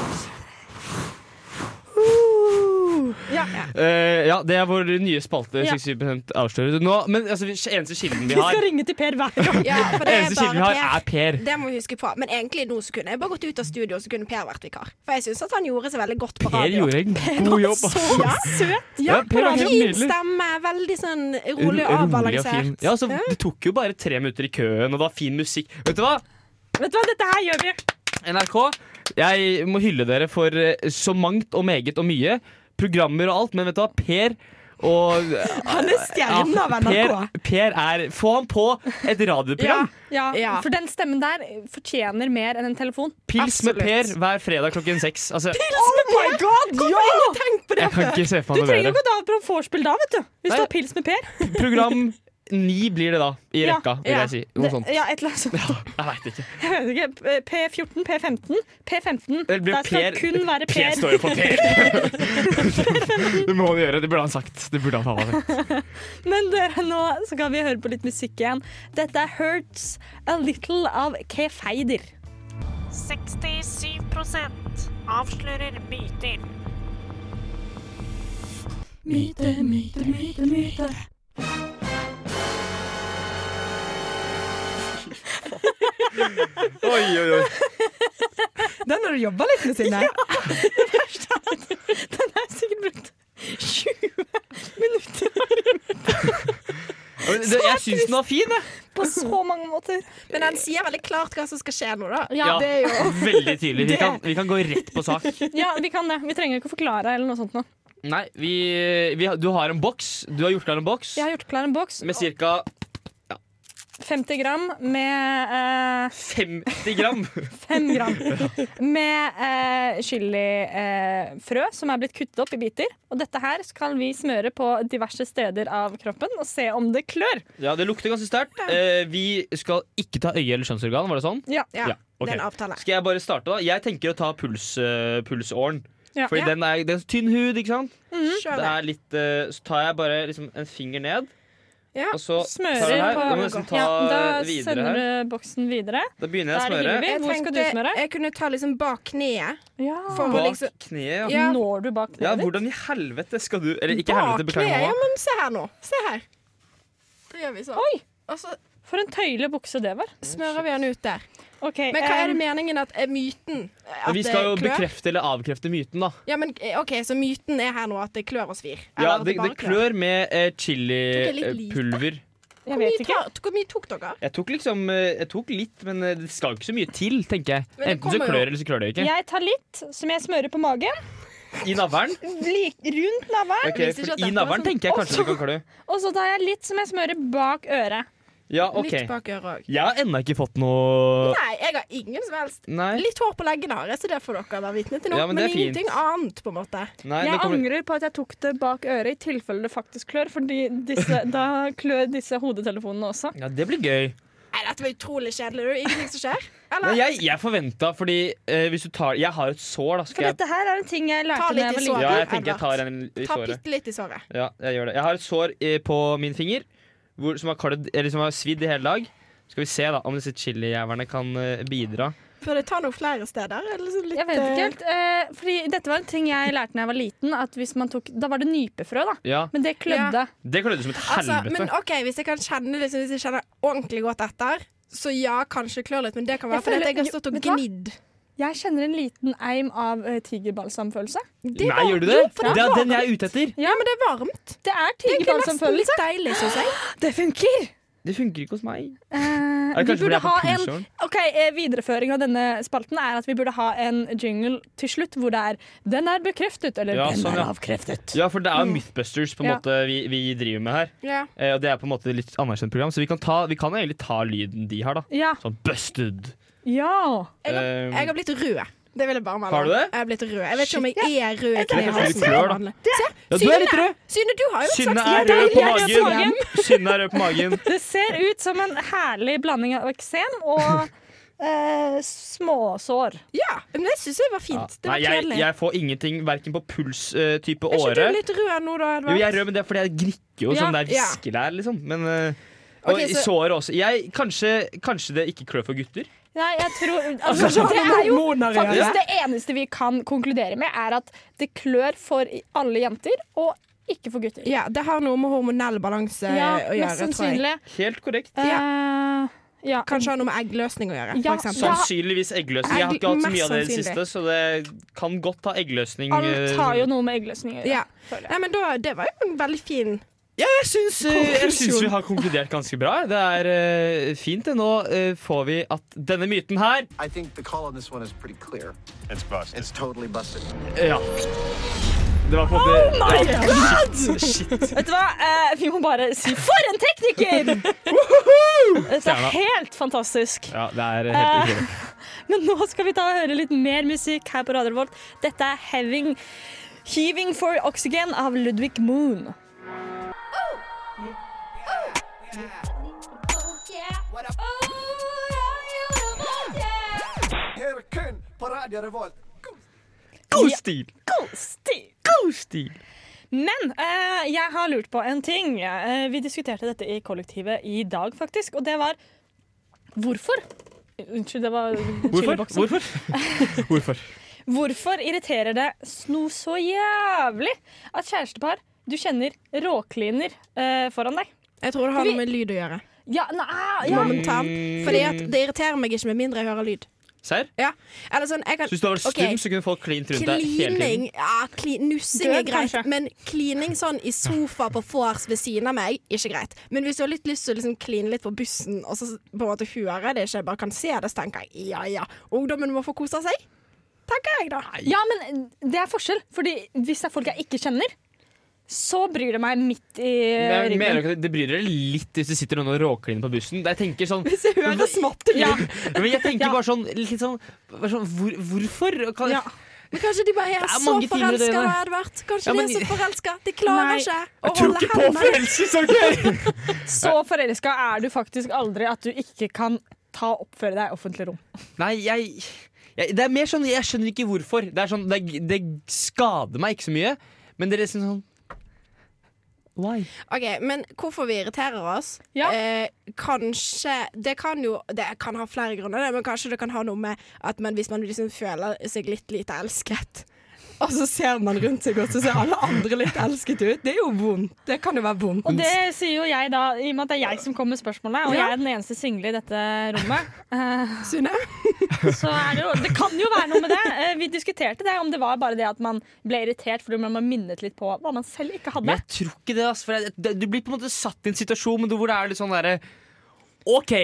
Speaker 3: Ja.
Speaker 2: eh, Ja, det er vår nye spalte.
Speaker 3: Ja.
Speaker 2: 67 avslører nå. Men altså, vi- eneste kilden vi
Speaker 3: Vi skal
Speaker 2: har
Speaker 3: ringe til Per hver gang.
Speaker 5: Ja, for det er
Speaker 2: Eneste kilden vi
Speaker 5: bare
Speaker 2: har, er
Speaker 5: Per.
Speaker 2: Per.
Speaker 5: Det må vi huske på. Men egentlig nå så kunne jeg bare gått ut av studio, så kunne Per vært vikar. For jeg syns at han gjorde seg veldig godt på
Speaker 2: Per
Speaker 5: radio.
Speaker 2: gjorde en
Speaker 5: Per
Speaker 2: god
Speaker 5: var
Speaker 2: jobb,
Speaker 5: Så
Speaker 2: ass.
Speaker 5: søt!
Speaker 2: Ja, Per var helt
Speaker 5: fin
Speaker 2: nydelig.
Speaker 5: stemme. Veldig sånn
Speaker 2: Rolig
Speaker 5: rolig og
Speaker 2: og fin.
Speaker 5: avbalansert.
Speaker 2: Ja, altså, det tok jo bare tre minutter i køen, og det var fin musikk. Vet du hva?
Speaker 3: Vet du hva, dette her gjør vi.
Speaker 2: NRK, jeg må hylle dere for eh, så mangt og meget og mye. Programmer og alt, men vet du hva? Per og
Speaker 3: <laughs> Han er stjernen av NRK.
Speaker 2: Per, per er Få han på et radioprogram!
Speaker 3: Ja, For den stemmen der fortjener mer enn en telefon.
Speaker 2: Pils med Per hver fredag klokken seks. Altså,
Speaker 3: Pils med Per! Oh Hvorfor har ingen tenkt på det
Speaker 2: Jeg kan
Speaker 3: før?
Speaker 2: ikke se for meg
Speaker 3: Du
Speaker 2: noe
Speaker 3: trenger
Speaker 2: bedre.
Speaker 3: jo ikke å ta opp på vorspiel da, vet du. Hvis du har pils med Per.
Speaker 2: program ni blir det da, i rekka, vil
Speaker 3: ja.
Speaker 2: jeg si. Noe
Speaker 3: Det-
Speaker 2: sånt.
Speaker 3: Ja, et eller annet sånt.
Speaker 2: Jeg veit ikke.
Speaker 3: Jeg vet ikke. P14, P15. P15.
Speaker 2: Det blir
Speaker 3: Der skal
Speaker 2: Per-
Speaker 3: kun være Per.
Speaker 2: Per står jo på Per.
Speaker 3: <laughs>
Speaker 2: <laughs> Det må han gjøre. Det burde han sagt. Det burde han ha sagt.
Speaker 3: Men dere, nå skal vi høre på litt musikk igjen. Dette er Hurts A Little av Kefeider.
Speaker 12: 67 avslører myter.
Speaker 13: Myte, myte, myte, myte.
Speaker 2: Oi, oi, oi.
Speaker 7: Den har du jobba litt med, Synne.
Speaker 3: Den er sikkert brukt 20
Speaker 2: Ja, men det- Jeg syns den var fin, jeg.
Speaker 5: På så mange måter. Men han sier veldig klart hva som skal skje nå, da.
Speaker 2: Ja, <laughs> Veldig tydelig. Vi
Speaker 3: Det-
Speaker 2: kan, vi kan gå rett på sak.
Speaker 3: Ja, vi kan det. Vi trenger ikke å forklare eller noe sånt nå.
Speaker 2: Nei, vi, vi, har- du har en boks. Du har gjort klar en boks
Speaker 3: Jeg har gjort klar en boks.
Speaker 2: med ca.
Speaker 3: 50 gram med eh,
Speaker 2: 50
Speaker 3: <laughs>
Speaker 2: gram.
Speaker 3: 5
Speaker 2: <laughs>
Speaker 3: gram. Med eh, chilifrø som er blitt kuttet opp i biter. Og dette her skal vi smøre på diverse steder av kroppen og se om det klør.
Speaker 2: Ja, det lukter ganske sterkt. Eh, vi skal ikke ta øye- eller kjønnsorgan, var det sånn?
Speaker 3: Ja.
Speaker 2: ok. Skal jeg bare starte, da? Jeg tenker å ta puls, eh, pulsåren.
Speaker 3: Ja.
Speaker 2: Fordi
Speaker 3: Ja.
Speaker 2: den er, det er så tynn hud, ikke sant?
Speaker 3: Mhm.
Speaker 2: Det er litt, eh, så tar jeg bare liksom en finger ned,
Speaker 3: Ja.
Speaker 2: og så
Speaker 3: Smører
Speaker 2: tar jeg den her.
Speaker 3: på
Speaker 2: Da må jeg nesten ta
Speaker 3: ja, Da
Speaker 2: videre
Speaker 3: sender
Speaker 2: her.
Speaker 3: du boksen videre.
Speaker 2: Da begynner jeg å smøre.
Speaker 5: Jeg
Speaker 3: Hvor skal du
Speaker 5: tenkte
Speaker 3: smøre?
Speaker 5: Jeg kunne ta liksom bak kneet. For å
Speaker 2: Bak
Speaker 5: liksom
Speaker 2: kneet,
Speaker 5: Ja.
Speaker 3: Når du bak
Speaker 2: Ja, hvordan i helvete skal du Eller ikke
Speaker 5: Bak
Speaker 2: helvete, beklager
Speaker 5: kneet,
Speaker 2: mamma.
Speaker 5: Ja, men se her nå. Se her. Det gjør vi sånn.
Speaker 3: Oi!
Speaker 5: Og så
Speaker 3: For en tøyle bukse det var.
Speaker 5: smører vi den ut der. Men hva
Speaker 3: eh,
Speaker 5: er det meningen at er myten at
Speaker 2: Men vi
Speaker 5: det
Speaker 2: skal jo
Speaker 5: klør?
Speaker 2: bekrefte eller avkrefte myten, da.
Speaker 5: Ja, men eh, ok, Så myten er her nå at det klør og svir?
Speaker 2: Ja,
Speaker 5: Eller at
Speaker 2: det, det
Speaker 5: bare
Speaker 2: klør med eh,
Speaker 5: Tok jeg litt lite?
Speaker 2: chilipulver.
Speaker 5: Hvor mye, tar, hvor mye tok dere?
Speaker 2: Jeg tok liksom eh, Jeg tok litt, men eh, det skal jo ikke så mye til, tenker jeg.
Speaker 3: Men det
Speaker 2: Enten så
Speaker 3: kommer jo.
Speaker 2: klør eller så klør det ikke.
Speaker 3: Jeg tar litt som jeg smører på magen.
Speaker 2: I navlen.
Speaker 3: Lik, rundt navlen.
Speaker 2: Ok, for I
Speaker 5: sånn
Speaker 2: navlen tenker jeg kanskje det kan klø.
Speaker 3: Og så tar jeg litt som jeg smører bak øret.
Speaker 2: Ja, OK.
Speaker 5: øret
Speaker 2: Jeg har ennå ikke fått noe
Speaker 5: Nei, jeg har ingen som helst.
Speaker 2: Nei.
Speaker 5: Litt hår på leggene har jeg, så det får dere være vitne til nå.
Speaker 2: Ja, men
Speaker 5: men
Speaker 2: det er fint.
Speaker 5: ingenting annet, på en måte.
Speaker 2: Nei, Jeg nå kommer-
Speaker 3: angrer på at jeg tok det bak øret, i tilfelle det faktisk klør. Fordi
Speaker 2: <laughs>
Speaker 3: da klør disse hodetelefonene også.
Speaker 2: Ja, det blir gøy.
Speaker 5: Nei, dette var utrolig kjedelig. Det er jo ingenting
Speaker 2: <laughs>
Speaker 5: som skjer.
Speaker 2: Nei, jeg, jeg forventa, fordi eh, hvis du tar Jeg har et sår, da.
Speaker 3: For
Speaker 2: Skal jeg
Speaker 3: dette her er en ting jeg lærte da
Speaker 5: Ta litt
Speaker 3: jeg var
Speaker 5: i
Speaker 3: liten.
Speaker 2: Ja, jeg tenker jeg tar en i
Speaker 5: Ta
Speaker 2: såret.
Speaker 5: bitte litt i såret.
Speaker 2: Ja, jeg gjør det. Jeg har et sår eh, på min finger hvor, som, har klødd, eller som har svidd i hele dag. Skal vi se da om disse chilijævlene kan eh, bidra.
Speaker 5: Bør det ta noe flere steder? Eller så litt,
Speaker 3: Jeg vet ikke
Speaker 5: eh,
Speaker 3: helt. Eh, fordi dette var en ting jeg lærte da jeg var liten. At hvis man tok, da var det nypefrø, da.
Speaker 2: Ja.
Speaker 3: Men det klødde.
Speaker 2: Det klødde som et
Speaker 5: Altså,
Speaker 2: helvete.
Speaker 5: men OK, hvis jeg kan kjenne liksom, Hvis jeg kjenner ordentlig godt etter, så ja, kanskje klør litt, men det kan være
Speaker 3: Jeg
Speaker 5: fordi
Speaker 3: føler-
Speaker 5: at jeg har
Speaker 3: jo,
Speaker 5: stått og
Speaker 3: vet du hva?
Speaker 5: gnidd.
Speaker 3: Jeg kjenner en liten eim av eh, tigerbalsamfølelse.
Speaker 2: Nei, gjør du det? Det er den jeg er ute etter.
Speaker 5: Ja, men det er varmt.
Speaker 3: Det er
Speaker 5: egentlig nesten
Speaker 3: tigerbalsamfølelse.
Speaker 5: litt deilig, synes jeg.
Speaker 3: <laughs> Det funker!
Speaker 2: Det funker ikke hos meg.
Speaker 3: Eh,
Speaker 2: Er det
Speaker 3: vi
Speaker 2: kanskje fordi
Speaker 3: burde
Speaker 2: jeg er på
Speaker 3: ha en,
Speaker 2: pulsåren?
Speaker 3: ok, eh, Videreføring av denne spalten er at vi burde ha en jingle til slutt hvor det er 'den er bekreftet' eller
Speaker 2: Ja,
Speaker 3: 'den
Speaker 2: sånn,
Speaker 3: er
Speaker 2: ja.
Speaker 3: avkreftet'.
Speaker 2: Ja, for det er jo Mythbusters på en
Speaker 3: Ja.
Speaker 2: måte vi, vi driver med her.
Speaker 3: Ja.
Speaker 2: Eh, og det er på en måte et litt anerkjent program, så vi kan, ta, vi kan egentlig ta lyden de har, da.
Speaker 3: Ja.
Speaker 2: Sånn busted.
Speaker 3: Ja.
Speaker 5: Jeg har,
Speaker 2: Um,
Speaker 5: jeg har blitt rød. Det vil jeg bare melde.
Speaker 2: Har du det?
Speaker 5: Jeg har blitt rød. Jeg vet ikke om jeg er rød i
Speaker 2: Det er kanskje litt
Speaker 5: knehalsen.
Speaker 2: klør, da. Ja, du er litt rød.
Speaker 5: Synne, du har jo et
Speaker 2: Synne
Speaker 5: slags
Speaker 2: er rød på magen. Synne er rød på magen.
Speaker 3: Det ser ut som en herlig blanding av eksem og eh, småsår.
Speaker 5: Ja, men det syns jeg var fint. Det
Speaker 2: Nei,
Speaker 5: var
Speaker 2: jeg,
Speaker 5: kjedelig.
Speaker 2: jeg får ingenting verken på puls-type
Speaker 5: Er ikke
Speaker 2: åre
Speaker 5: du litt rød nå, da,
Speaker 2: Jo,
Speaker 5: Edvard?
Speaker 2: jeg er rød, men det er fordi jeg grikker jo
Speaker 5: Ja.
Speaker 2: sånn. Det er
Speaker 5: Ja.
Speaker 2: viskelær, liksom. Men, eh, og
Speaker 5: Ok,
Speaker 2: i
Speaker 5: så-
Speaker 2: såret også. Jeg, kanskje, kanskje det ikke klør for gutter?
Speaker 3: Nei, jeg tror
Speaker 2: Altså,
Speaker 3: altså, Det er jo
Speaker 2: hormoner å gjøre.
Speaker 3: faktisk det eneste vi kan konkludere med, er at det klør for alle jenter, og ikke for gutter.
Speaker 5: Ja, det har noe med hormonell balanse
Speaker 3: Ja,
Speaker 5: å gjøre,
Speaker 3: mest sannsynlig. eh,
Speaker 2: Helt korrekt.
Speaker 5: tror jeg. Ja.
Speaker 3: Ja.
Speaker 5: Kanskje har noe med eggløsning å gjøre,
Speaker 3: Ja,
Speaker 5: for eksempel.
Speaker 2: Sannsynligvis eggløsning. Jeg har ikke hatt så
Speaker 5: Mest
Speaker 2: mye av det i det
Speaker 5: sannsynlig.
Speaker 2: siste, så det kan godt ha eggløsning. eh.
Speaker 3: Alt har jo noe med eggløsning å gjøre.
Speaker 5: Ja. Nei, men da, det var jo en veldig fin
Speaker 2: Ja, jeg syns, eh, Jeg syns vi har konkludert ganske bra. Det er eh, fint. det. Nå eh, får vi at denne myten her
Speaker 14: I think the call on this one is pretty clear. It's busted. It's totally busted.
Speaker 2: Ja. Det var på en måte
Speaker 3: Oh my
Speaker 2: Ja, Shit.
Speaker 3: god! <laughs>
Speaker 2: shit.
Speaker 3: Vet du hva? Eh, vi må bare si for en tekniker! Dette er
Speaker 2: Stjerna.
Speaker 3: helt fantastisk.
Speaker 2: Ja, det er
Speaker 3: Eh,
Speaker 2: helt utrolig.
Speaker 3: Men nå skal vi ta og høre litt mer musikk her på Radio Revolt. Dette er Heving, 'Heaving for Oxygen' av Ludvig Moon.
Speaker 15: Kun på Radio Revolt.
Speaker 2: God stil!
Speaker 3: God stil!
Speaker 2: God stil!
Speaker 3: Men eh, jeg har lurt på en ting. Eh, vi diskuterte dette i kollektivet i dag, faktisk. Og det var hvorfor. Unnskyld, det var
Speaker 2: Hvorfor?
Speaker 3: chiliboksen.
Speaker 2: Hvorfor?
Speaker 5: <laughs>
Speaker 2: Hvorfor?
Speaker 3: Hvorfor irriterer det noe så jævlig at kjærestepar du kjenner råkliner eh, foran deg?
Speaker 5: Jeg tror det har noe med lyd å gjøre.
Speaker 3: Ja, nei, ja.
Speaker 5: Momentant. Fordi at det irriterer meg ikke med mindre jeg hører lyd.
Speaker 2: Serr?
Speaker 5: Ja. Eller sånn, jeg kan
Speaker 2: Hvis du hadde vært
Speaker 5: Ok.
Speaker 2: stum, så kunne folk klint rundt deg hele tiden.
Speaker 5: Klining
Speaker 3: eh,
Speaker 5: ja, kli, Nussing er
Speaker 3: Død,
Speaker 5: greit,
Speaker 3: kanskje.
Speaker 5: men klining sånn i sofa på vors ved siden av meg, ikke greit. Men hvis du har litt lyst til å liksom kline litt på bussen, og så på en måte hører jeg det ikke, jeg bare kan se det, så tenker jeg ja ja, ungdommen må få kose seg. Tenker jeg, da.
Speaker 3: ja, men eh, det er forskjell. Fordi hvis det er folk jeg ikke kjenner, så bryr det meg midt i
Speaker 2: Men jeg
Speaker 3: ryggen.
Speaker 2: mener ikke at Det bryr dere litt hvis du sitter noen og råkliner på bussen. Jeg tenker sånn
Speaker 3: Hvis jeg hører småtteri. Ja.
Speaker 2: Men jeg tenker bare sånn, litt sånn, bare sånn hvor, Hvorfor? Kan,
Speaker 5: Men kanskje de bare
Speaker 2: Det
Speaker 5: er,
Speaker 2: er
Speaker 5: så
Speaker 2: mange timer i
Speaker 5: forelska,
Speaker 2: døgnet.
Speaker 5: da, Edvard. Kanskje
Speaker 2: Ja, men-
Speaker 5: de er så forelska. De klarer
Speaker 3: Nei.
Speaker 5: ikke å
Speaker 2: Jeg tror
Speaker 5: holde
Speaker 2: ikke på forelskelse, OK?
Speaker 3: Så forelska er du faktisk aldri at du ikke kan ta og oppføre deg i offentlig rom.
Speaker 2: <laughs> Nei, jeg, jeg Det er mer sånn Jeg skjønner ikke hvorfor. Det, er sånn, det, det skader meg ikke så mye, men det er liksom sånn Why?
Speaker 5: OK, men hvorfor vi irriterer oss? Eh, kanskje Det kan jo Det kan ha flere grunner, det, men kanskje det kan ha noe med at man, hvis man liksom føler seg litt lite elsket <laughs>
Speaker 7: Og så ser man rundt seg, og så ser alle andre litt elsket ut. Det er jo vondt. Det kan jo være vondt.
Speaker 3: Og det sier jo jeg da, i og med at det er jeg som kommer med spørsmålene, og
Speaker 7: Ja.
Speaker 3: jeg er den eneste single i dette rommet. Sunne? Så er det jo Det kan jo være noe med det. Eh, Vi diskuterte det, om det var bare det at man ble irritert fordi man var minnet litt på hva man selv ikke
Speaker 2: Men
Speaker 3: hadde.
Speaker 2: jeg tror ikke det, ass. For jeg, det, du blir på en måte satt i en situasjon men du- hvor det er litt sånn derre OK,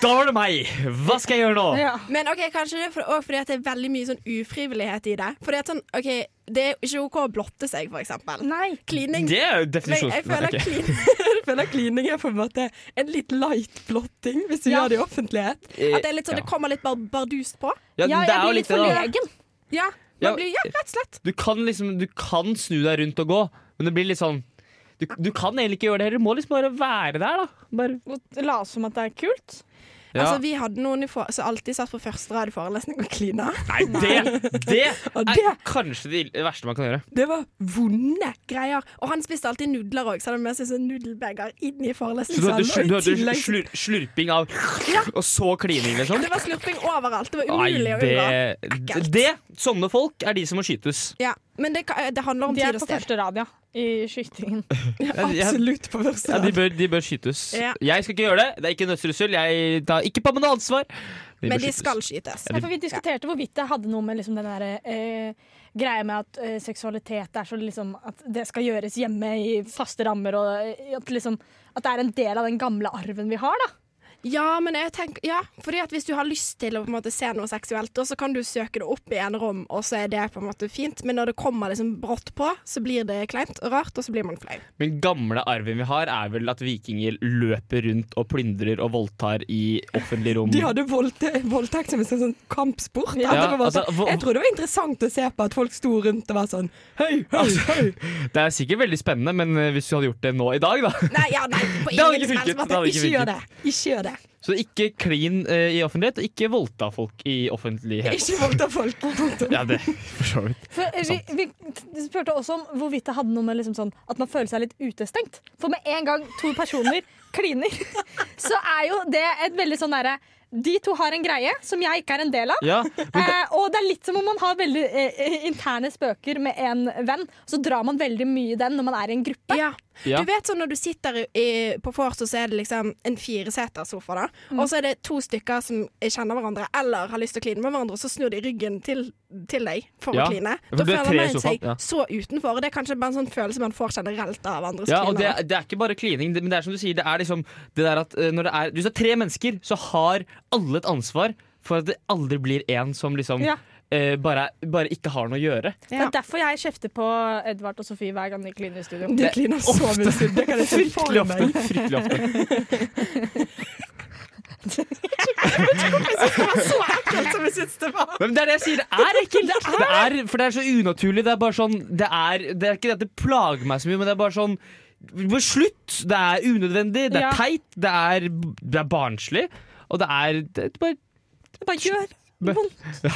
Speaker 2: da var det meg! Hva skal jeg gjøre nå?
Speaker 5: Men ok, kanskje det er for, også fordi at det er veldig mye sånn ufrivillighet i det. Fordi at sånn, ok, Det er ikke OK å blotte seg, for eksempel.
Speaker 3: Nei.
Speaker 5: Klining.
Speaker 2: Det er jo definisjonen.
Speaker 5: Men jeg
Speaker 2: Nei, ok.
Speaker 5: føler <laughs> klin-
Speaker 7: Jeg føler klining er på en måte en litt light blotting, hvis du
Speaker 5: Ja.
Speaker 7: gjør det i offentlighet.
Speaker 2: Eh, At det er litt sånn, ja.
Speaker 5: det kommer litt bardust på.
Speaker 2: Ja, Ja, det jeg er jo blir litt
Speaker 3: sånn-
Speaker 2: litt det, da. forlegen.
Speaker 5: Ja,
Speaker 2: Ja.
Speaker 5: man blir, ja, rett og slett.
Speaker 2: Du kan liksom Du kan snu deg rundt og gå, men det blir litt sånn Du, du kan egentlig ikke gjøre det heller. Du må liksom bare være der, da.
Speaker 3: Bare la oss som at det er kult.
Speaker 2: Ja.
Speaker 5: Altså, vi hadde noen i for som alltid satt på første rad i forelesning og klina.
Speaker 2: Nei, det, det
Speaker 5: Og
Speaker 2: er kanskje det ill- verste man kan gjøre.
Speaker 5: Det var vonde greier. Og han spiste alltid nudler òg, så han hadde med seg sånn nudelbeger inn i
Speaker 2: Så du hadde,
Speaker 5: forelesningssalen.
Speaker 2: sl- du
Speaker 5: og i
Speaker 2: hadde
Speaker 5: tillegg-
Speaker 2: slur, slurping av Og så klining, liksom?
Speaker 5: Det var slurping overalt. Det var
Speaker 2: Nei,
Speaker 5: umulig å unngå.
Speaker 2: det, det Sånne folk er de som må skytes.
Speaker 5: Ja, men det, ka- det handler om
Speaker 3: De
Speaker 5: tid
Speaker 3: er
Speaker 5: og
Speaker 3: på
Speaker 5: sted.
Speaker 3: første rad, ja. I skytingen.
Speaker 2: Ja, de- ja.
Speaker 5: Absolutt på første
Speaker 2: Ja, de, bør, de bør skytes.
Speaker 3: Ja.
Speaker 2: Jeg skal ikke gjøre det. Det er ikke nødsrussel. Jeg tar ikke på meg noe ansvar. bør skytes.
Speaker 5: skytes.
Speaker 2: Ja, de-
Speaker 3: Nei, for vi diskuterte hvorvidt det hadde noe med liksom den der, eh, greia med at eh, seksualitet er så liksom At det skal gjøres hjemme i faste rammer, og eh, at, liksom, at det er en del av den gamle arven vi har, da.
Speaker 5: Ja, men jeg tenker, ja, fordi at hvis du har lyst til å på en måte se noe seksuelt, og så kan du søke det opp i enerom, og så er det på en måte fint. Men når det kommer liksom brått på, så blir det kleint og rart, og så blir man flau.
Speaker 2: Men gamle arven vi har, er vel at vikinger løper rundt og plyndrer og voldtar i offentlige
Speaker 5: <laughs>
Speaker 2: rom.
Speaker 7: De hadde voldte, voldtekt som en sånn sånn kampsport.
Speaker 2: Ja,
Speaker 7: At det var
Speaker 2: altså,
Speaker 7: sånn-
Speaker 2: hvor-
Speaker 7: jeg tror det var interessant å se på at folk sto rundt og var sånn Hei, hei, hei!
Speaker 2: Altså, <laughs> Det er sikkert veldig spennende, men eh, hvis du hadde gjort det nå i dag, da <laughs>
Speaker 5: Nei, ja, nei, på
Speaker 2: Det hadde
Speaker 5: ingen
Speaker 2: ikke
Speaker 5: som helst
Speaker 2: funket,
Speaker 5: måte.
Speaker 2: det hadde ikke
Speaker 5: Ikke gjør det.
Speaker 2: funket.
Speaker 5: Ikke gjør det.
Speaker 2: Så ikke klin eh, i offentlighet, og ikke voldta folk i offentlighet.
Speaker 5: Ikke voldta folk.
Speaker 2: Ja, det for så vidt.
Speaker 3: For, eh, vi, vi t- spurte også om hvorvidt det hadde noe med liksom sånn, at man føler seg litt utestengt. For med en gang to <laughs> personer kliner, så er jo det et veldig sånn derre de to har en greie som jeg ikke er en del av.
Speaker 2: <laughs> Ja, men da-
Speaker 3: eh, og det er litt som om man har veldig eh, interne spøker med en venn. Så drar man veldig mye i den når man er i en gruppe.
Speaker 2: Ja.
Speaker 5: Du vet sånn når du sitter i, i- på vors, og så er det liksom en firesetersofa, da.
Speaker 2: Mm.
Speaker 5: Og så er det to stykker som kjenner hverandre eller har lyst til å kline med hverandre, og så snur de ryggen til, til deg for
Speaker 2: Ja.
Speaker 5: å kline.
Speaker 2: For
Speaker 5: Da
Speaker 2: du er tre
Speaker 5: føler
Speaker 2: i
Speaker 5: man
Speaker 2: sofaen,
Speaker 5: seg
Speaker 2: ja.
Speaker 5: så utenfor. Og det er kanskje bare en sånn følelse man får generelt av andre som
Speaker 2: Ja, og det,
Speaker 5: kliner. da.
Speaker 2: det er ikke bare klining, det- men det er som du sier, det er liksom det der at eh, når det er Hvis det er tre mennesker, så har alle et ansvar for at det aldri blir én som liksom
Speaker 3: Ja.
Speaker 2: eh, bare, bare ikke har noe å gjøre.
Speaker 3: Det er derfor jeg kjefter på Edvard og Sofie hver gang de kliner i studio.
Speaker 2: De kliner så mye i studio, det kan jeg se for Fryktelig meg. ofte, fryktelig <laughs> Men det er det jeg sier, det er ekkelt! Det er, for det er så unaturlig. Det er bare sånn Det er, det er ikke det at det plager meg så mye, men det er bare sånn bare Slutt! Det er unødvendig, det er
Speaker 3: Ja.
Speaker 2: teit, det er, det er barnslig, og det er, det er bare
Speaker 3: Bare gjør
Speaker 2: vondt. Ja,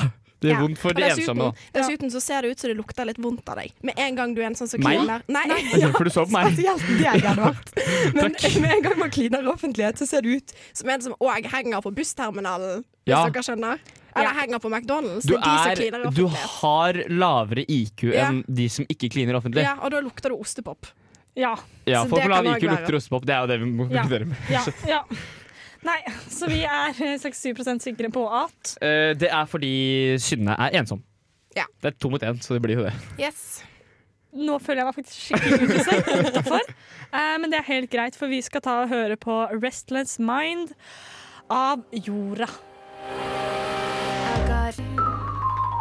Speaker 2: det gjør
Speaker 5: Ja.
Speaker 2: vondt for
Speaker 5: Og
Speaker 2: de
Speaker 5: dessuten-
Speaker 2: ensomme, da.
Speaker 5: Dessuten så ser det ut som det lukter litt vondt av deg. Med en gang du er en sånn som
Speaker 2: Meg?
Speaker 5: kliner. Nei, <laughs>
Speaker 2: Det er Derfor du så på
Speaker 5: Altså,
Speaker 2: meg.
Speaker 7: Spesielt deg,
Speaker 2: <laughs>
Speaker 7: Edvard. Men
Speaker 2: Takk.
Speaker 7: med en gang man kliner i offentlighet, så ser det ut
Speaker 5: som en som òg henger på bussterminalen, hvis
Speaker 2: Ja.
Speaker 5: dere skjønner. Eller henger på McDonald's.
Speaker 2: Du,
Speaker 5: det er de som
Speaker 2: er,
Speaker 5: kliner i
Speaker 2: du
Speaker 5: offentlighet.
Speaker 2: har lavere IQ
Speaker 5: Ja.
Speaker 2: enn de som ikke kliner offentlig.
Speaker 5: Ja, og da lukter det ostepop.
Speaker 3: Ja.
Speaker 2: Ja,
Speaker 5: Så
Speaker 2: folk
Speaker 5: det
Speaker 2: med lav
Speaker 5: kan
Speaker 2: IQ
Speaker 5: også være.
Speaker 2: lukter ostepop. Det er jo det vi må
Speaker 3: Ja.
Speaker 2: konkludere med.
Speaker 3: Ja,
Speaker 2: Så,
Speaker 3: ja. Nei, så vi er eh, 67 sikre på at
Speaker 2: eh, det er fordi Synne er ensom.
Speaker 5: Ja.
Speaker 2: Det er to mot én, så det blir jo det.
Speaker 5: Yes.
Speaker 3: Nå føler jeg meg faktisk skikkelig utestengt utenfor. Eh, men det er helt greit, for vi skal ta og høre på Restless Mind av Jorda.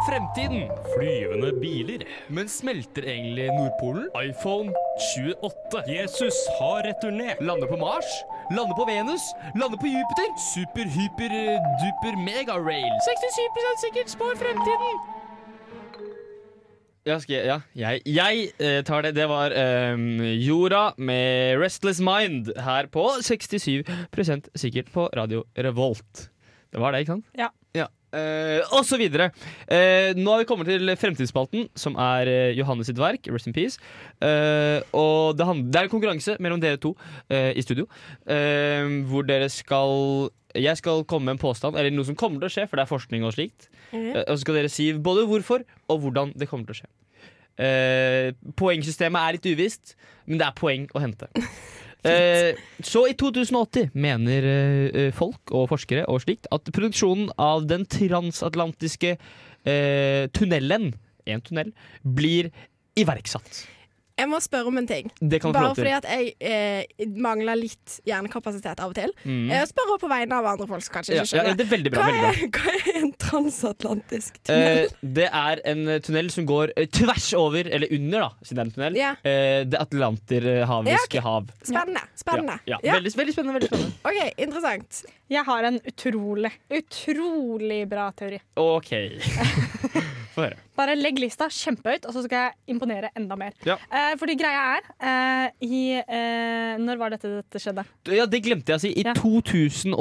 Speaker 2: Fremtiden. Flyvende biler. Men smelter egentlig Nordpolen? iPhone 28. Jesus har returnert. Lander på Mars. Lander på Venus. Lander på Jupiter. Super-hyper-duper-megarail.
Speaker 1: 67 sikkert spår fremtiden.
Speaker 2: Ja, skal jeg, ja. jeg, jeg eh, tar det. Det var eh, Jorda med 'Restless Mind' her på 67 sikkert på Radio Revolt. Det var det, ikke sant?
Speaker 3: Ja.
Speaker 2: Eh, og så videre. Eh, nå har vi kommet til fremtidsspalten, som er eh, Johannes sitt verk. Rest in peace. Eh, og det, hand- det er en konkurranse mellom dere to eh, i studio, eh, hvor dere skal Jeg skal komme med en påstand, eller noe som kommer til å skje, for det er forskning og slikt.
Speaker 1: Mhm.
Speaker 2: Eh, og så skal dere si både hvorfor og hvordan det kommer til å skje. Eh, poengsystemet er litt uvisst, men det er poeng å hente. Eh, så i 2080 mener eh, folk og forskere og slikt at produksjonen av den transatlantiske eh, tunnelen, en tunnel, blir iverksatt.
Speaker 5: Jeg må spørre om en ting.
Speaker 2: Det kan du få
Speaker 5: Bare
Speaker 2: lov til.
Speaker 5: fordi at jeg eh, mangler litt hjernekapasitet av og til.
Speaker 2: Mm.
Speaker 5: Jeg spør også på vegne av andre folk som kanskje
Speaker 2: Ja,
Speaker 5: ikke skjønner.
Speaker 2: ja, det er veldig bra,
Speaker 5: hva,
Speaker 2: veldig
Speaker 5: Er, hva er en transatlantisk
Speaker 2: Eh,
Speaker 5: tunnel?
Speaker 2: det er en eh, tunnel som går eh, tvers over, eller under, da, siden det er en tunnel,
Speaker 5: Ja.
Speaker 2: eh, det
Speaker 5: Ja,
Speaker 2: atlanterhaviske
Speaker 5: ok.
Speaker 2: hav.
Speaker 5: Spennende. spennende.
Speaker 2: Ja, ja. Veldig, spennende, veldig spennende.
Speaker 5: OK, interessant. <laughs>
Speaker 3: Jeg har en utrolig, utrolig bra teori.
Speaker 2: OK. Få høre.
Speaker 3: Bare legg lista kjempehøyt, og så skal jeg imponere enda mer.
Speaker 2: Ja.
Speaker 3: Eh, fordi greia er eh, i, eh, Når var dette dette skjedde?
Speaker 2: Ja, det glemte jeg å si. I 2080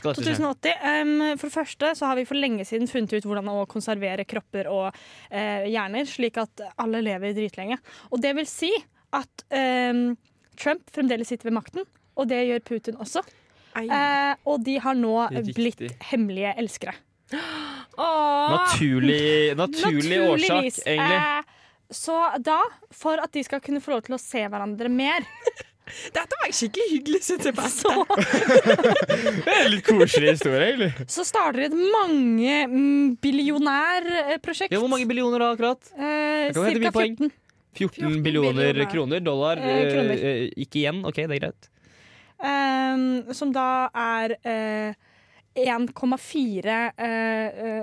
Speaker 2: skal dette skje.
Speaker 3: 2080. Em, Ehm, for det første så har vi for lenge siden funnet ut hvordan å konservere kropper og eh, hjerner, slik at alle lever dritlenge. Og det vil si at em, Trump fremdeles sitter ved makten, og det gjør Putin også. Eh, og de har nå
Speaker 2: Riktig.
Speaker 3: blitt hemmelige elskere.
Speaker 2: Naturlig, naturlig årsak,
Speaker 3: Naturligvis.
Speaker 2: egentlig.
Speaker 3: Eh, så da, for at de skal kunne få lov til å se hverandre mer <laughs> Dette var skikkelig hyggelig, Så,
Speaker 2: Det er en litt koselig historie, egentlig.
Speaker 5: <laughs>
Speaker 3: så starter et mm, mangebillionærprosjekt.
Speaker 2: Ja, hvor mange billioner da, akkurat? Jeg
Speaker 3: Eh,
Speaker 2: kan hente mye
Speaker 3: cirka
Speaker 2: poeng.
Speaker 3: 14.
Speaker 2: 14 billioner
Speaker 3: billioner.
Speaker 2: kroner. Dollar.
Speaker 3: Eh,
Speaker 2: eh,
Speaker 3: kroner.
Speaker 2: eh, Ikke igjen. OK, det er greit.
Speaker 3: Ehm, som da er eh, 1,4 eh, eh,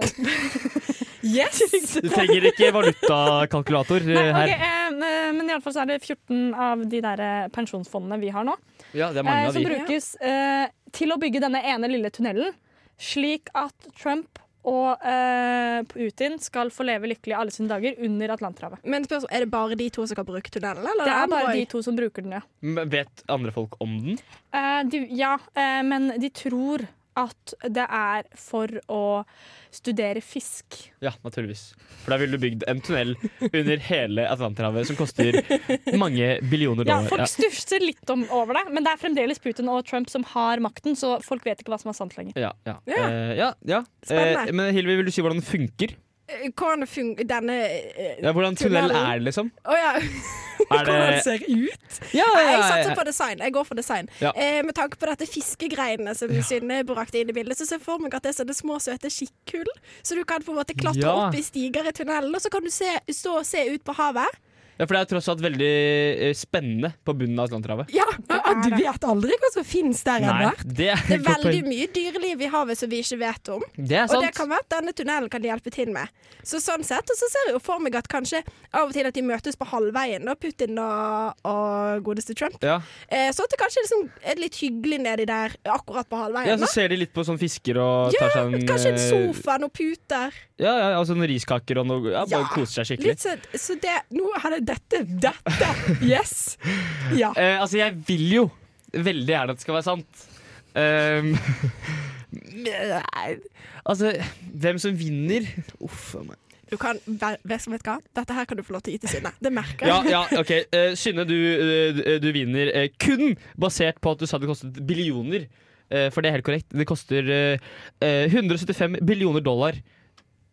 Speaker 3: Yes!
Speaker 2: Du trenger ikke valutakalkulator
Speaker 3: Nei,
Speaker 2: eh,
Speaker 3: ok,
Speaker 2: her.
Speaker 3: eh, men iallfall så er det 14 av de der eh, pensjonsfondene vi har nå.
Speaker 2: Ja, det er mange
Speaker 3: eh,
Speaker 2: av
Speaker 3: som
Speaker 2: de.
Speaker 3: brukes eh, til å bygge denne ene lille tunnelen, slik at Trump og eh, Putin skal få leve lykkelig alle sine dager under Atlanterhavet.
Speaker 5: Men spørsmål, er det bare de to som kan bruke tunnelen? Eller
Speaker 3: Det er
Speaker 5: andre
Speaker 3: bare de
Speaker 5: også?
Speaker 3: to som bruker den, ja.
Speaker 2: Men Vet andre folk om den?
Speaker 3: Eh, de, ja, eh, men de tror at det er for å studere fisk.
Speaker 2: Ja, naturligvis. For da ville du bygd en tunnel under hele Atlanterhavet som koster mange billioner
Speaker 3: Ja,
Speaker 2: dollar.
Speaker 3: folk
Speaker 2: Ja.
Speaker 3: stusser litt om, over det, men det er fremdeles Putin og Trump som har makten, så folk vet ikke hva som er sant lenger.
Speaker 2: Ja, ja.
Speaker 5: Ja.
Speaker 2: Eh, ja, ja.
Speaker 5: Spennende.
Speaker 2: Eh, men Hilvi, vil du si hvordan den funker?
Speaker 5: Eh, Hvordan fungerer denne eh,
Speaker 2: Ja, hvordan tunnel er det, liksom?
Speaker 5: Å ja.
Speaker 2: Er det-
Speaker 5: Hvordan den ser ut?
Speaker 2: Ja, ja, ja,
Speaker 5: Jeg
Speaker 2: ja.
Speaker 5: satser på design. Jeg går for design.
Speaker 2: Ja.
Speaker 5: Eh, med tanke på dette fiskegreiene som Synne brakte inn i bildet, så ser jeg for meg at det er sånne små, søte skikkhull. Så du kan på en måte klatre
Speaker 2: Ja.
Speaker 5: opp i stiger i tunnelen, og så kan du se, stå og se ut på havet.
Speaker 2: Ja, For det er tross alt veldig eh, spennende på bunnen av Atlanterhavet.
Speaker 5: Ja,
Speaker 7: Du vet aldri hva som finnes der
Speaker 2: Nei,
Speaker 7: ennå.
Speaker 2: det er,
Speaker 5: Det er
Speaker 2: et godt
Speaker 5: veldig
Speaker 2: poeng.
Speaker 5: mye dyreliv i havet som vi ikke vet om.
Speaker 2: Det er
Speaker 5: Og det
Speaker 2: sant.
Speaker 5: kan være at denne tunnelen kan hjelpe til med. Så sånn sett, Og så ser jeg jo for meg at kanskje av og til at de møtes på halvveien, da, Putin og, og godeste Trump.
Speaker 2: Ja.
Speaker 5: Eh, så at det kanskje liksom er litt hyggelig nedi der akkurat på halvveien.
Speaker 2: ja, Så
Speaker 5: da.
Speaker 2: ser de litt på sånn fisker og
Speaker 5: ja,
Speaker 2: tar seg en
Speaker 5: kanskje en
Speaker 2: eh,
Speaker 5: sofa, noen puter.
Speaker 2: Ja, ja, altså noen riskaker og noe. Ja, bare
Speaker 5: Ja,
Speaker 2: koser seg skikkelig.
Speaker 5: Litt så, så det Nå hadde dette
Speaker 7: Dette! Yes! Ja.
Speaker 2: Eh, altså, jeg vil jo veldig gjerne at det skal være sant. Ehm, <laughs> nei, altså, hvem som vinner Uff a meg.
Speaker 5: Du kan, vet du hva, Dette her kan du få lov til å gi til Synne. Det merker
Speaker 2: Ja,
Speaker 5: jeg.
Speaker 2: ja, OK. Eh, Synne, du, eh, du vinner eh, kun basert på at du sa det kostet billioner. Eh, for det er helt korrekt. Det koster eh, eh, 175 billioner dollar.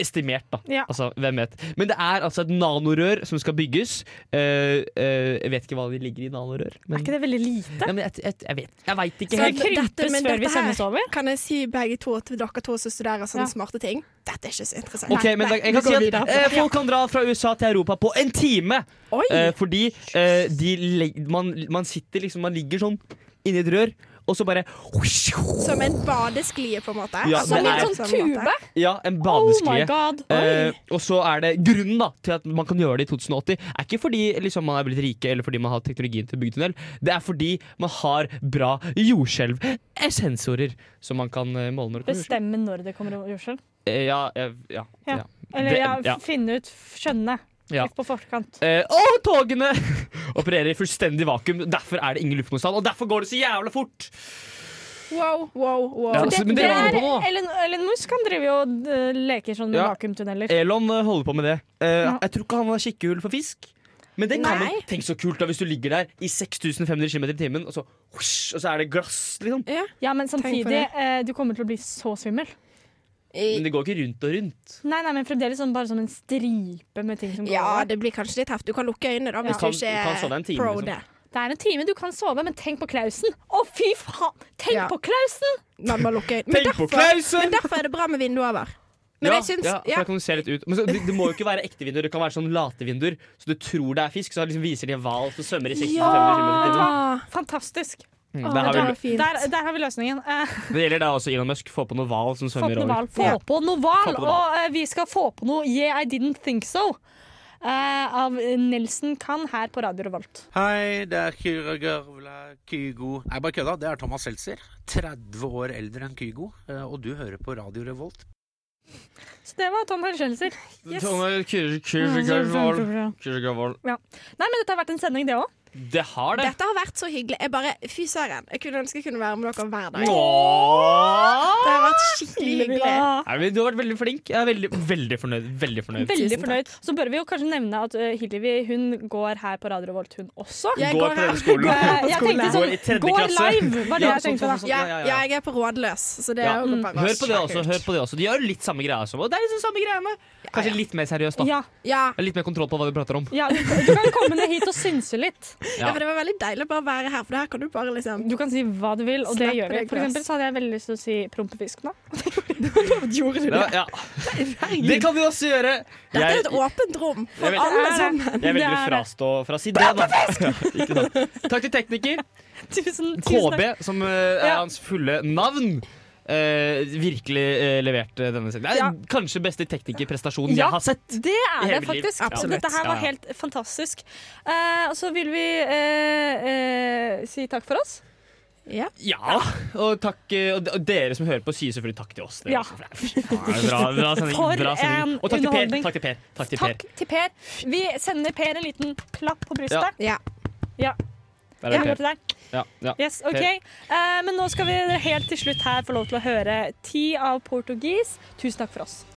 Speaker 2: Estimert, da.
Speaker 3: Ja.
Speaker 2: Altså, hvem vet. Men det er altså et nanorør som skal bygges. Eh, eh, jeg vet ikke hva det ligger i nanorør. Men,
Speaker 3: Er ikke det veldig lite?
Speaker 2: ja, men jeg, jeg, jeg vet jeg vet ikke
Speaker 5: Så
Speaker 2: helt.
Speaker 5: dette- men
Speaker 3: før vi
Speaker 5: dette her
Speaker 3: sendes over?
Speaker 5: Kan jeg si begge to til dere to som studerer sånne
Speaker 3: Ja.
Speaker 5: smarte ting? Dette er ikke så interessant.
Speaker 2: Ok, men da, jeg kan si at eh, Folk kan dra fra USA til Europa på en time!
Speaker 5: Oi.
Speaker 2: Eh, fordi eh, de, leg- man, man sitter liksom Man ligger sånn inni et rør, og så bare
Speaker 5: Som en badesklie, på en måte.
Speaker 2: Ja,
Speaker 5: Altså,
Speaker 2: det
Speaker 5: litt
Speaker 2: er-
Speaker 5: sånn tube.
Speaker 2: Ja, en
Speaker 5: Oh
Speaker 2: badesklie.
Speaker 5: my God.
Speaker 2: Eh, og så er det grunnen da til at man kan gjøre det i 2080, er ikke fordi liksom, man er blitt rike eller fordi man har teknologien til å bygge tunnel. Det er fordi man har bra jordskjelv. eh, Sensorer som man kan eh, måle når det kommer jordskjelv.
Speaker 3: Bestemme når det kommer jordskjelv?
Speaker 2: Eh, ja, eh, ja,
Speaker 3: Ja.
Speaker 2: ja.
Speaker 3: Eller
Speaker 2: Det-
Speaker 3: ja,
Speaker 2: ja.
Speaker 3: finne ut, skjønne
Speaker 2: Ja.
Speaker 3: litt på forkant.
Speaker 2: Eh, og togene <laughs> opererer i fullstendig vakuum. Derfor er det ingen luftmotstand, og derfor går det så jævla fort!
Speaker 5: Wow, wow, wow.
Speaker 2: Ja,
Speaker 3: For
Speaker 2: så- men det var
Speaker 3: er-
Speaker 2: det på nå.
Speaker 3: Elon, Elon Musk han driver jo og eh, leker sånn med
Speaker 2: Ja.
Speaker 3: vakuumtunneler.
Speaker 2: Elon eh, holder på med det. Eh, Jeg tror ikke han har kikkehull for fisk. Men det kan
Speaker 3: Nei.
Speaker 2: man, tenk så kult da hvis du ligger der i 6500 km i timen, og så, husj, og så er det glass, liksom.
Speaker 5: Ja,
Speaker 3: men
Speaker 2: Tenk på
Speaker 3: samtidig,
Speaker 2: det.
Speaker 3: eh, du kommer til å bli så svimmel.
Speaker 2: Men det går ikke rundt og rundt.
Speaker 3: Nei, nei, men fremdeles sånn, bare som en stripe med ting som går
Speaker 5: Ja,
Speaker 3: over.
Speaker 5: det blir kanskje litt heft. Du kan lukke øynene da,
Speaker 3: Ja.
Speaker 5: hvis
Speaker 2: Du kan-
Speaker 5: du ikke
Speaker 2: du kan sove
Speaker 5: er
Speaker 2: en time,
Speaker 5: pro
Speaker 2: liksom.
Speaker 5: det.
Speaker 3: Det er en time du kan sove, men tenk på Klausen! Å, fy faen! Tenk på Klausen!
Speaker 5: Man må lukke øynene. Men
Speaker 2: Tenk på
Speaker 5: derfor,
Speaker 2: Klausen!
Speaker 5: men derfor er det bra med vinduet over. Men
Speaker 2: ja,
Speaker 5: jeg syns
Speaker 2: ja, for
Speaker 5: ja.
Speaker 2: da kan du se litt ut. Men så, det, det må jo ikke være ekte vinduer, det kan være sånn latevinduer. Så du tror det er fisk, så liksom viser de en hval som svømmer i 6500 km i
Speaker 3: Vet du
Speaker 2: timen.
Speaker 5: Ah.
Speaker 3: hva? Fantastisk.
Speaker 2: Mm,
Speaker 3: Åh,
Speaker 2: der har vi-
Speaker 3: der, der, der har vi løsningen. Eh,
Speaker 2: Det gjelder da også Elon Musk. Få på noe hval som
Speaker 3: Få på
Speaker 2: svømmer
Speaker 3: noe hval.
Speaker 2: over.
Speaker 3: Få på noe
Speaker 2: Få
Speaker 3: hval,
Speaker 2: på noe
Speaker 3: og eh, vi skal få på noe Yeah, I didn't think so. eh, av Nelson Kan her på Radio Revolt.
Speaker 16: Hei, det er Kyra Gørvla Kygo. Nei, bare kødda. Det er Thomas Seltzer. 30 år eldre enn Kygo. eh, Og du hører på Radio Revolt.
Speaker 3: Så det var Tom Helskjelser. Yes. Mm,
Speaker 2: Tonge Kirke- Kirke- Kirke- Kirke- Kirke-
Speaker 3: Ja. Nei, men dette har vært en sending, det òg.
Speaker 2: Det har det.
Speaker 5: Dette har vært så hyggelig. Jeg bare, Fy søren. Jeg kunne ønske jeg kunne være med dere hver dag.
Speaker 2: Åh!
Speaker 5: Det har vært skikkelig hyggelig.
Speaker 2: Nei, men Du har vært veldig flink. Jeg er veldig, veldig fornøyd. Veldig fornøyd.
Speaker 3: Veldig fornøyd. Så bør vi jo kanskje nevne at eh, Hillevi hun går her på Radio Revolt, hun også.
Speaker 5: Jeg Går går på her-
Speaker 2: radioskolen.
Speaker 3: Går- Jeg tenkte
Speaker 2: Går i
Speaker 3: sånn,
Speaker 2: tredje
Speaker 3: går
Speaker 2: klasse.
Speaker 3: live, var det
Speaker 2: Ja,
Speaker 3: jeg tenkte
Speaker 2: sånn, sånn,
Speaker 3: da.
Speaker 2: sånn, ja, ja, ja.
Speaker 5: Ja, jeg er på rådløs, så det
Speaker 2: Ja.
Speaker 5: er jo
Speaker 2: Mm.
Speaker 5: bare
Speaker 2: Hør på det også.
Speaker 5: sjukt.
Speaker 2: hør på det også De gjør litt samme greia som oss. Det er liksom samme greiene. Kanskje litt mer seriøst, da.
Speaker 5: Ja. Ja.
Speaker 2: Litt mer kontroll på hva vi prater om.
Speaker 3: Ja, du kan komme ned hit og synse litt.
Speaker 2: Ja.
Speaker 5: Ja, for Det var veldig deilig å bare være her, for her kan du bare liksom
Speaker 3: Du kan si hva du vil, og det gjør vi. For eksempel så hadde jeg veldig lyst til å si prompefisk nå.
Speaker 5: <laughs> Gjorde du
Speaker 2: Ja,
Speaker 5: det?
Speaker 2: ja. Det kan vi også gjøre.
Speaker 5: Dette er
Speaker 2: Jeg-
Speaker 5: et åpent rom
Speaker 2: Jeg
Speaker 5: for
Speaker 2: vil-
Speaker 5: alle
Speaker 2: Det er det.
Speaker 5: sammen.
Speaker 2: Jeg velger å frastå fra å si det, da. Ikke sant. Takk til tekniker. KB, som eh, er hans fulle navn. eh, virkelig eh, leverte denne sendingen. Det er
Speaker 3: Ja.
Speaker 2: kanskje beste teknikerprestasjonen
Speaker 3: Ja,
Speaker 2: jeg har sett.
Speaker 3: Det
Speaker 2: i
Speaker 3: er
Speaker 2: hele mitt
Speaker 3: det
Speaker 2: liv.
Speaker 3: faktisk.
Speaker 2: Ja.
Speaker 3: Så Dette her
Speaker 2: Ja,
Speaker 3: var
Speaker 2: ja.
Speaker 3: helt fantastisk. Eh, og så vil vi eh, eh, si takk for oss. Ja.
Speaker 2: Ja, og takk eh, og d- og dere som hører på, sier selvfølgelig takk til oss. Dere
Speaker 3: Ja.
Speaker 2: også. Ja, Bra, bra sending.
Speaker 3: For
Speaker 2: bra sending.
Speaker 3: en
Speaker 2: Og takk til Per.
Speaker 3: underholdning.
Speaker 2: Takk til Per. Takk til
Speaker 3: Takk
Speaker 2: per.
Speaker 3: til Per. Vi sender Per en liten klapp på brystet.
Speaker 5: Ja.
Speaker 3: Ja.
Speaker 2: Der er
Speaker 3: Ja,
Speaker 2: det
Speaker 3: går til
Speaker 2: Per.
Speaker 3: deg.
Speaker 2: Ja, ja.
Speaker 3: Yes, ok.
Speaker 2: Per.
Speaker 3: Eh, men nå skal vi helt til slutt her få lov til å høre ti av portugis. Tusen takk for oss.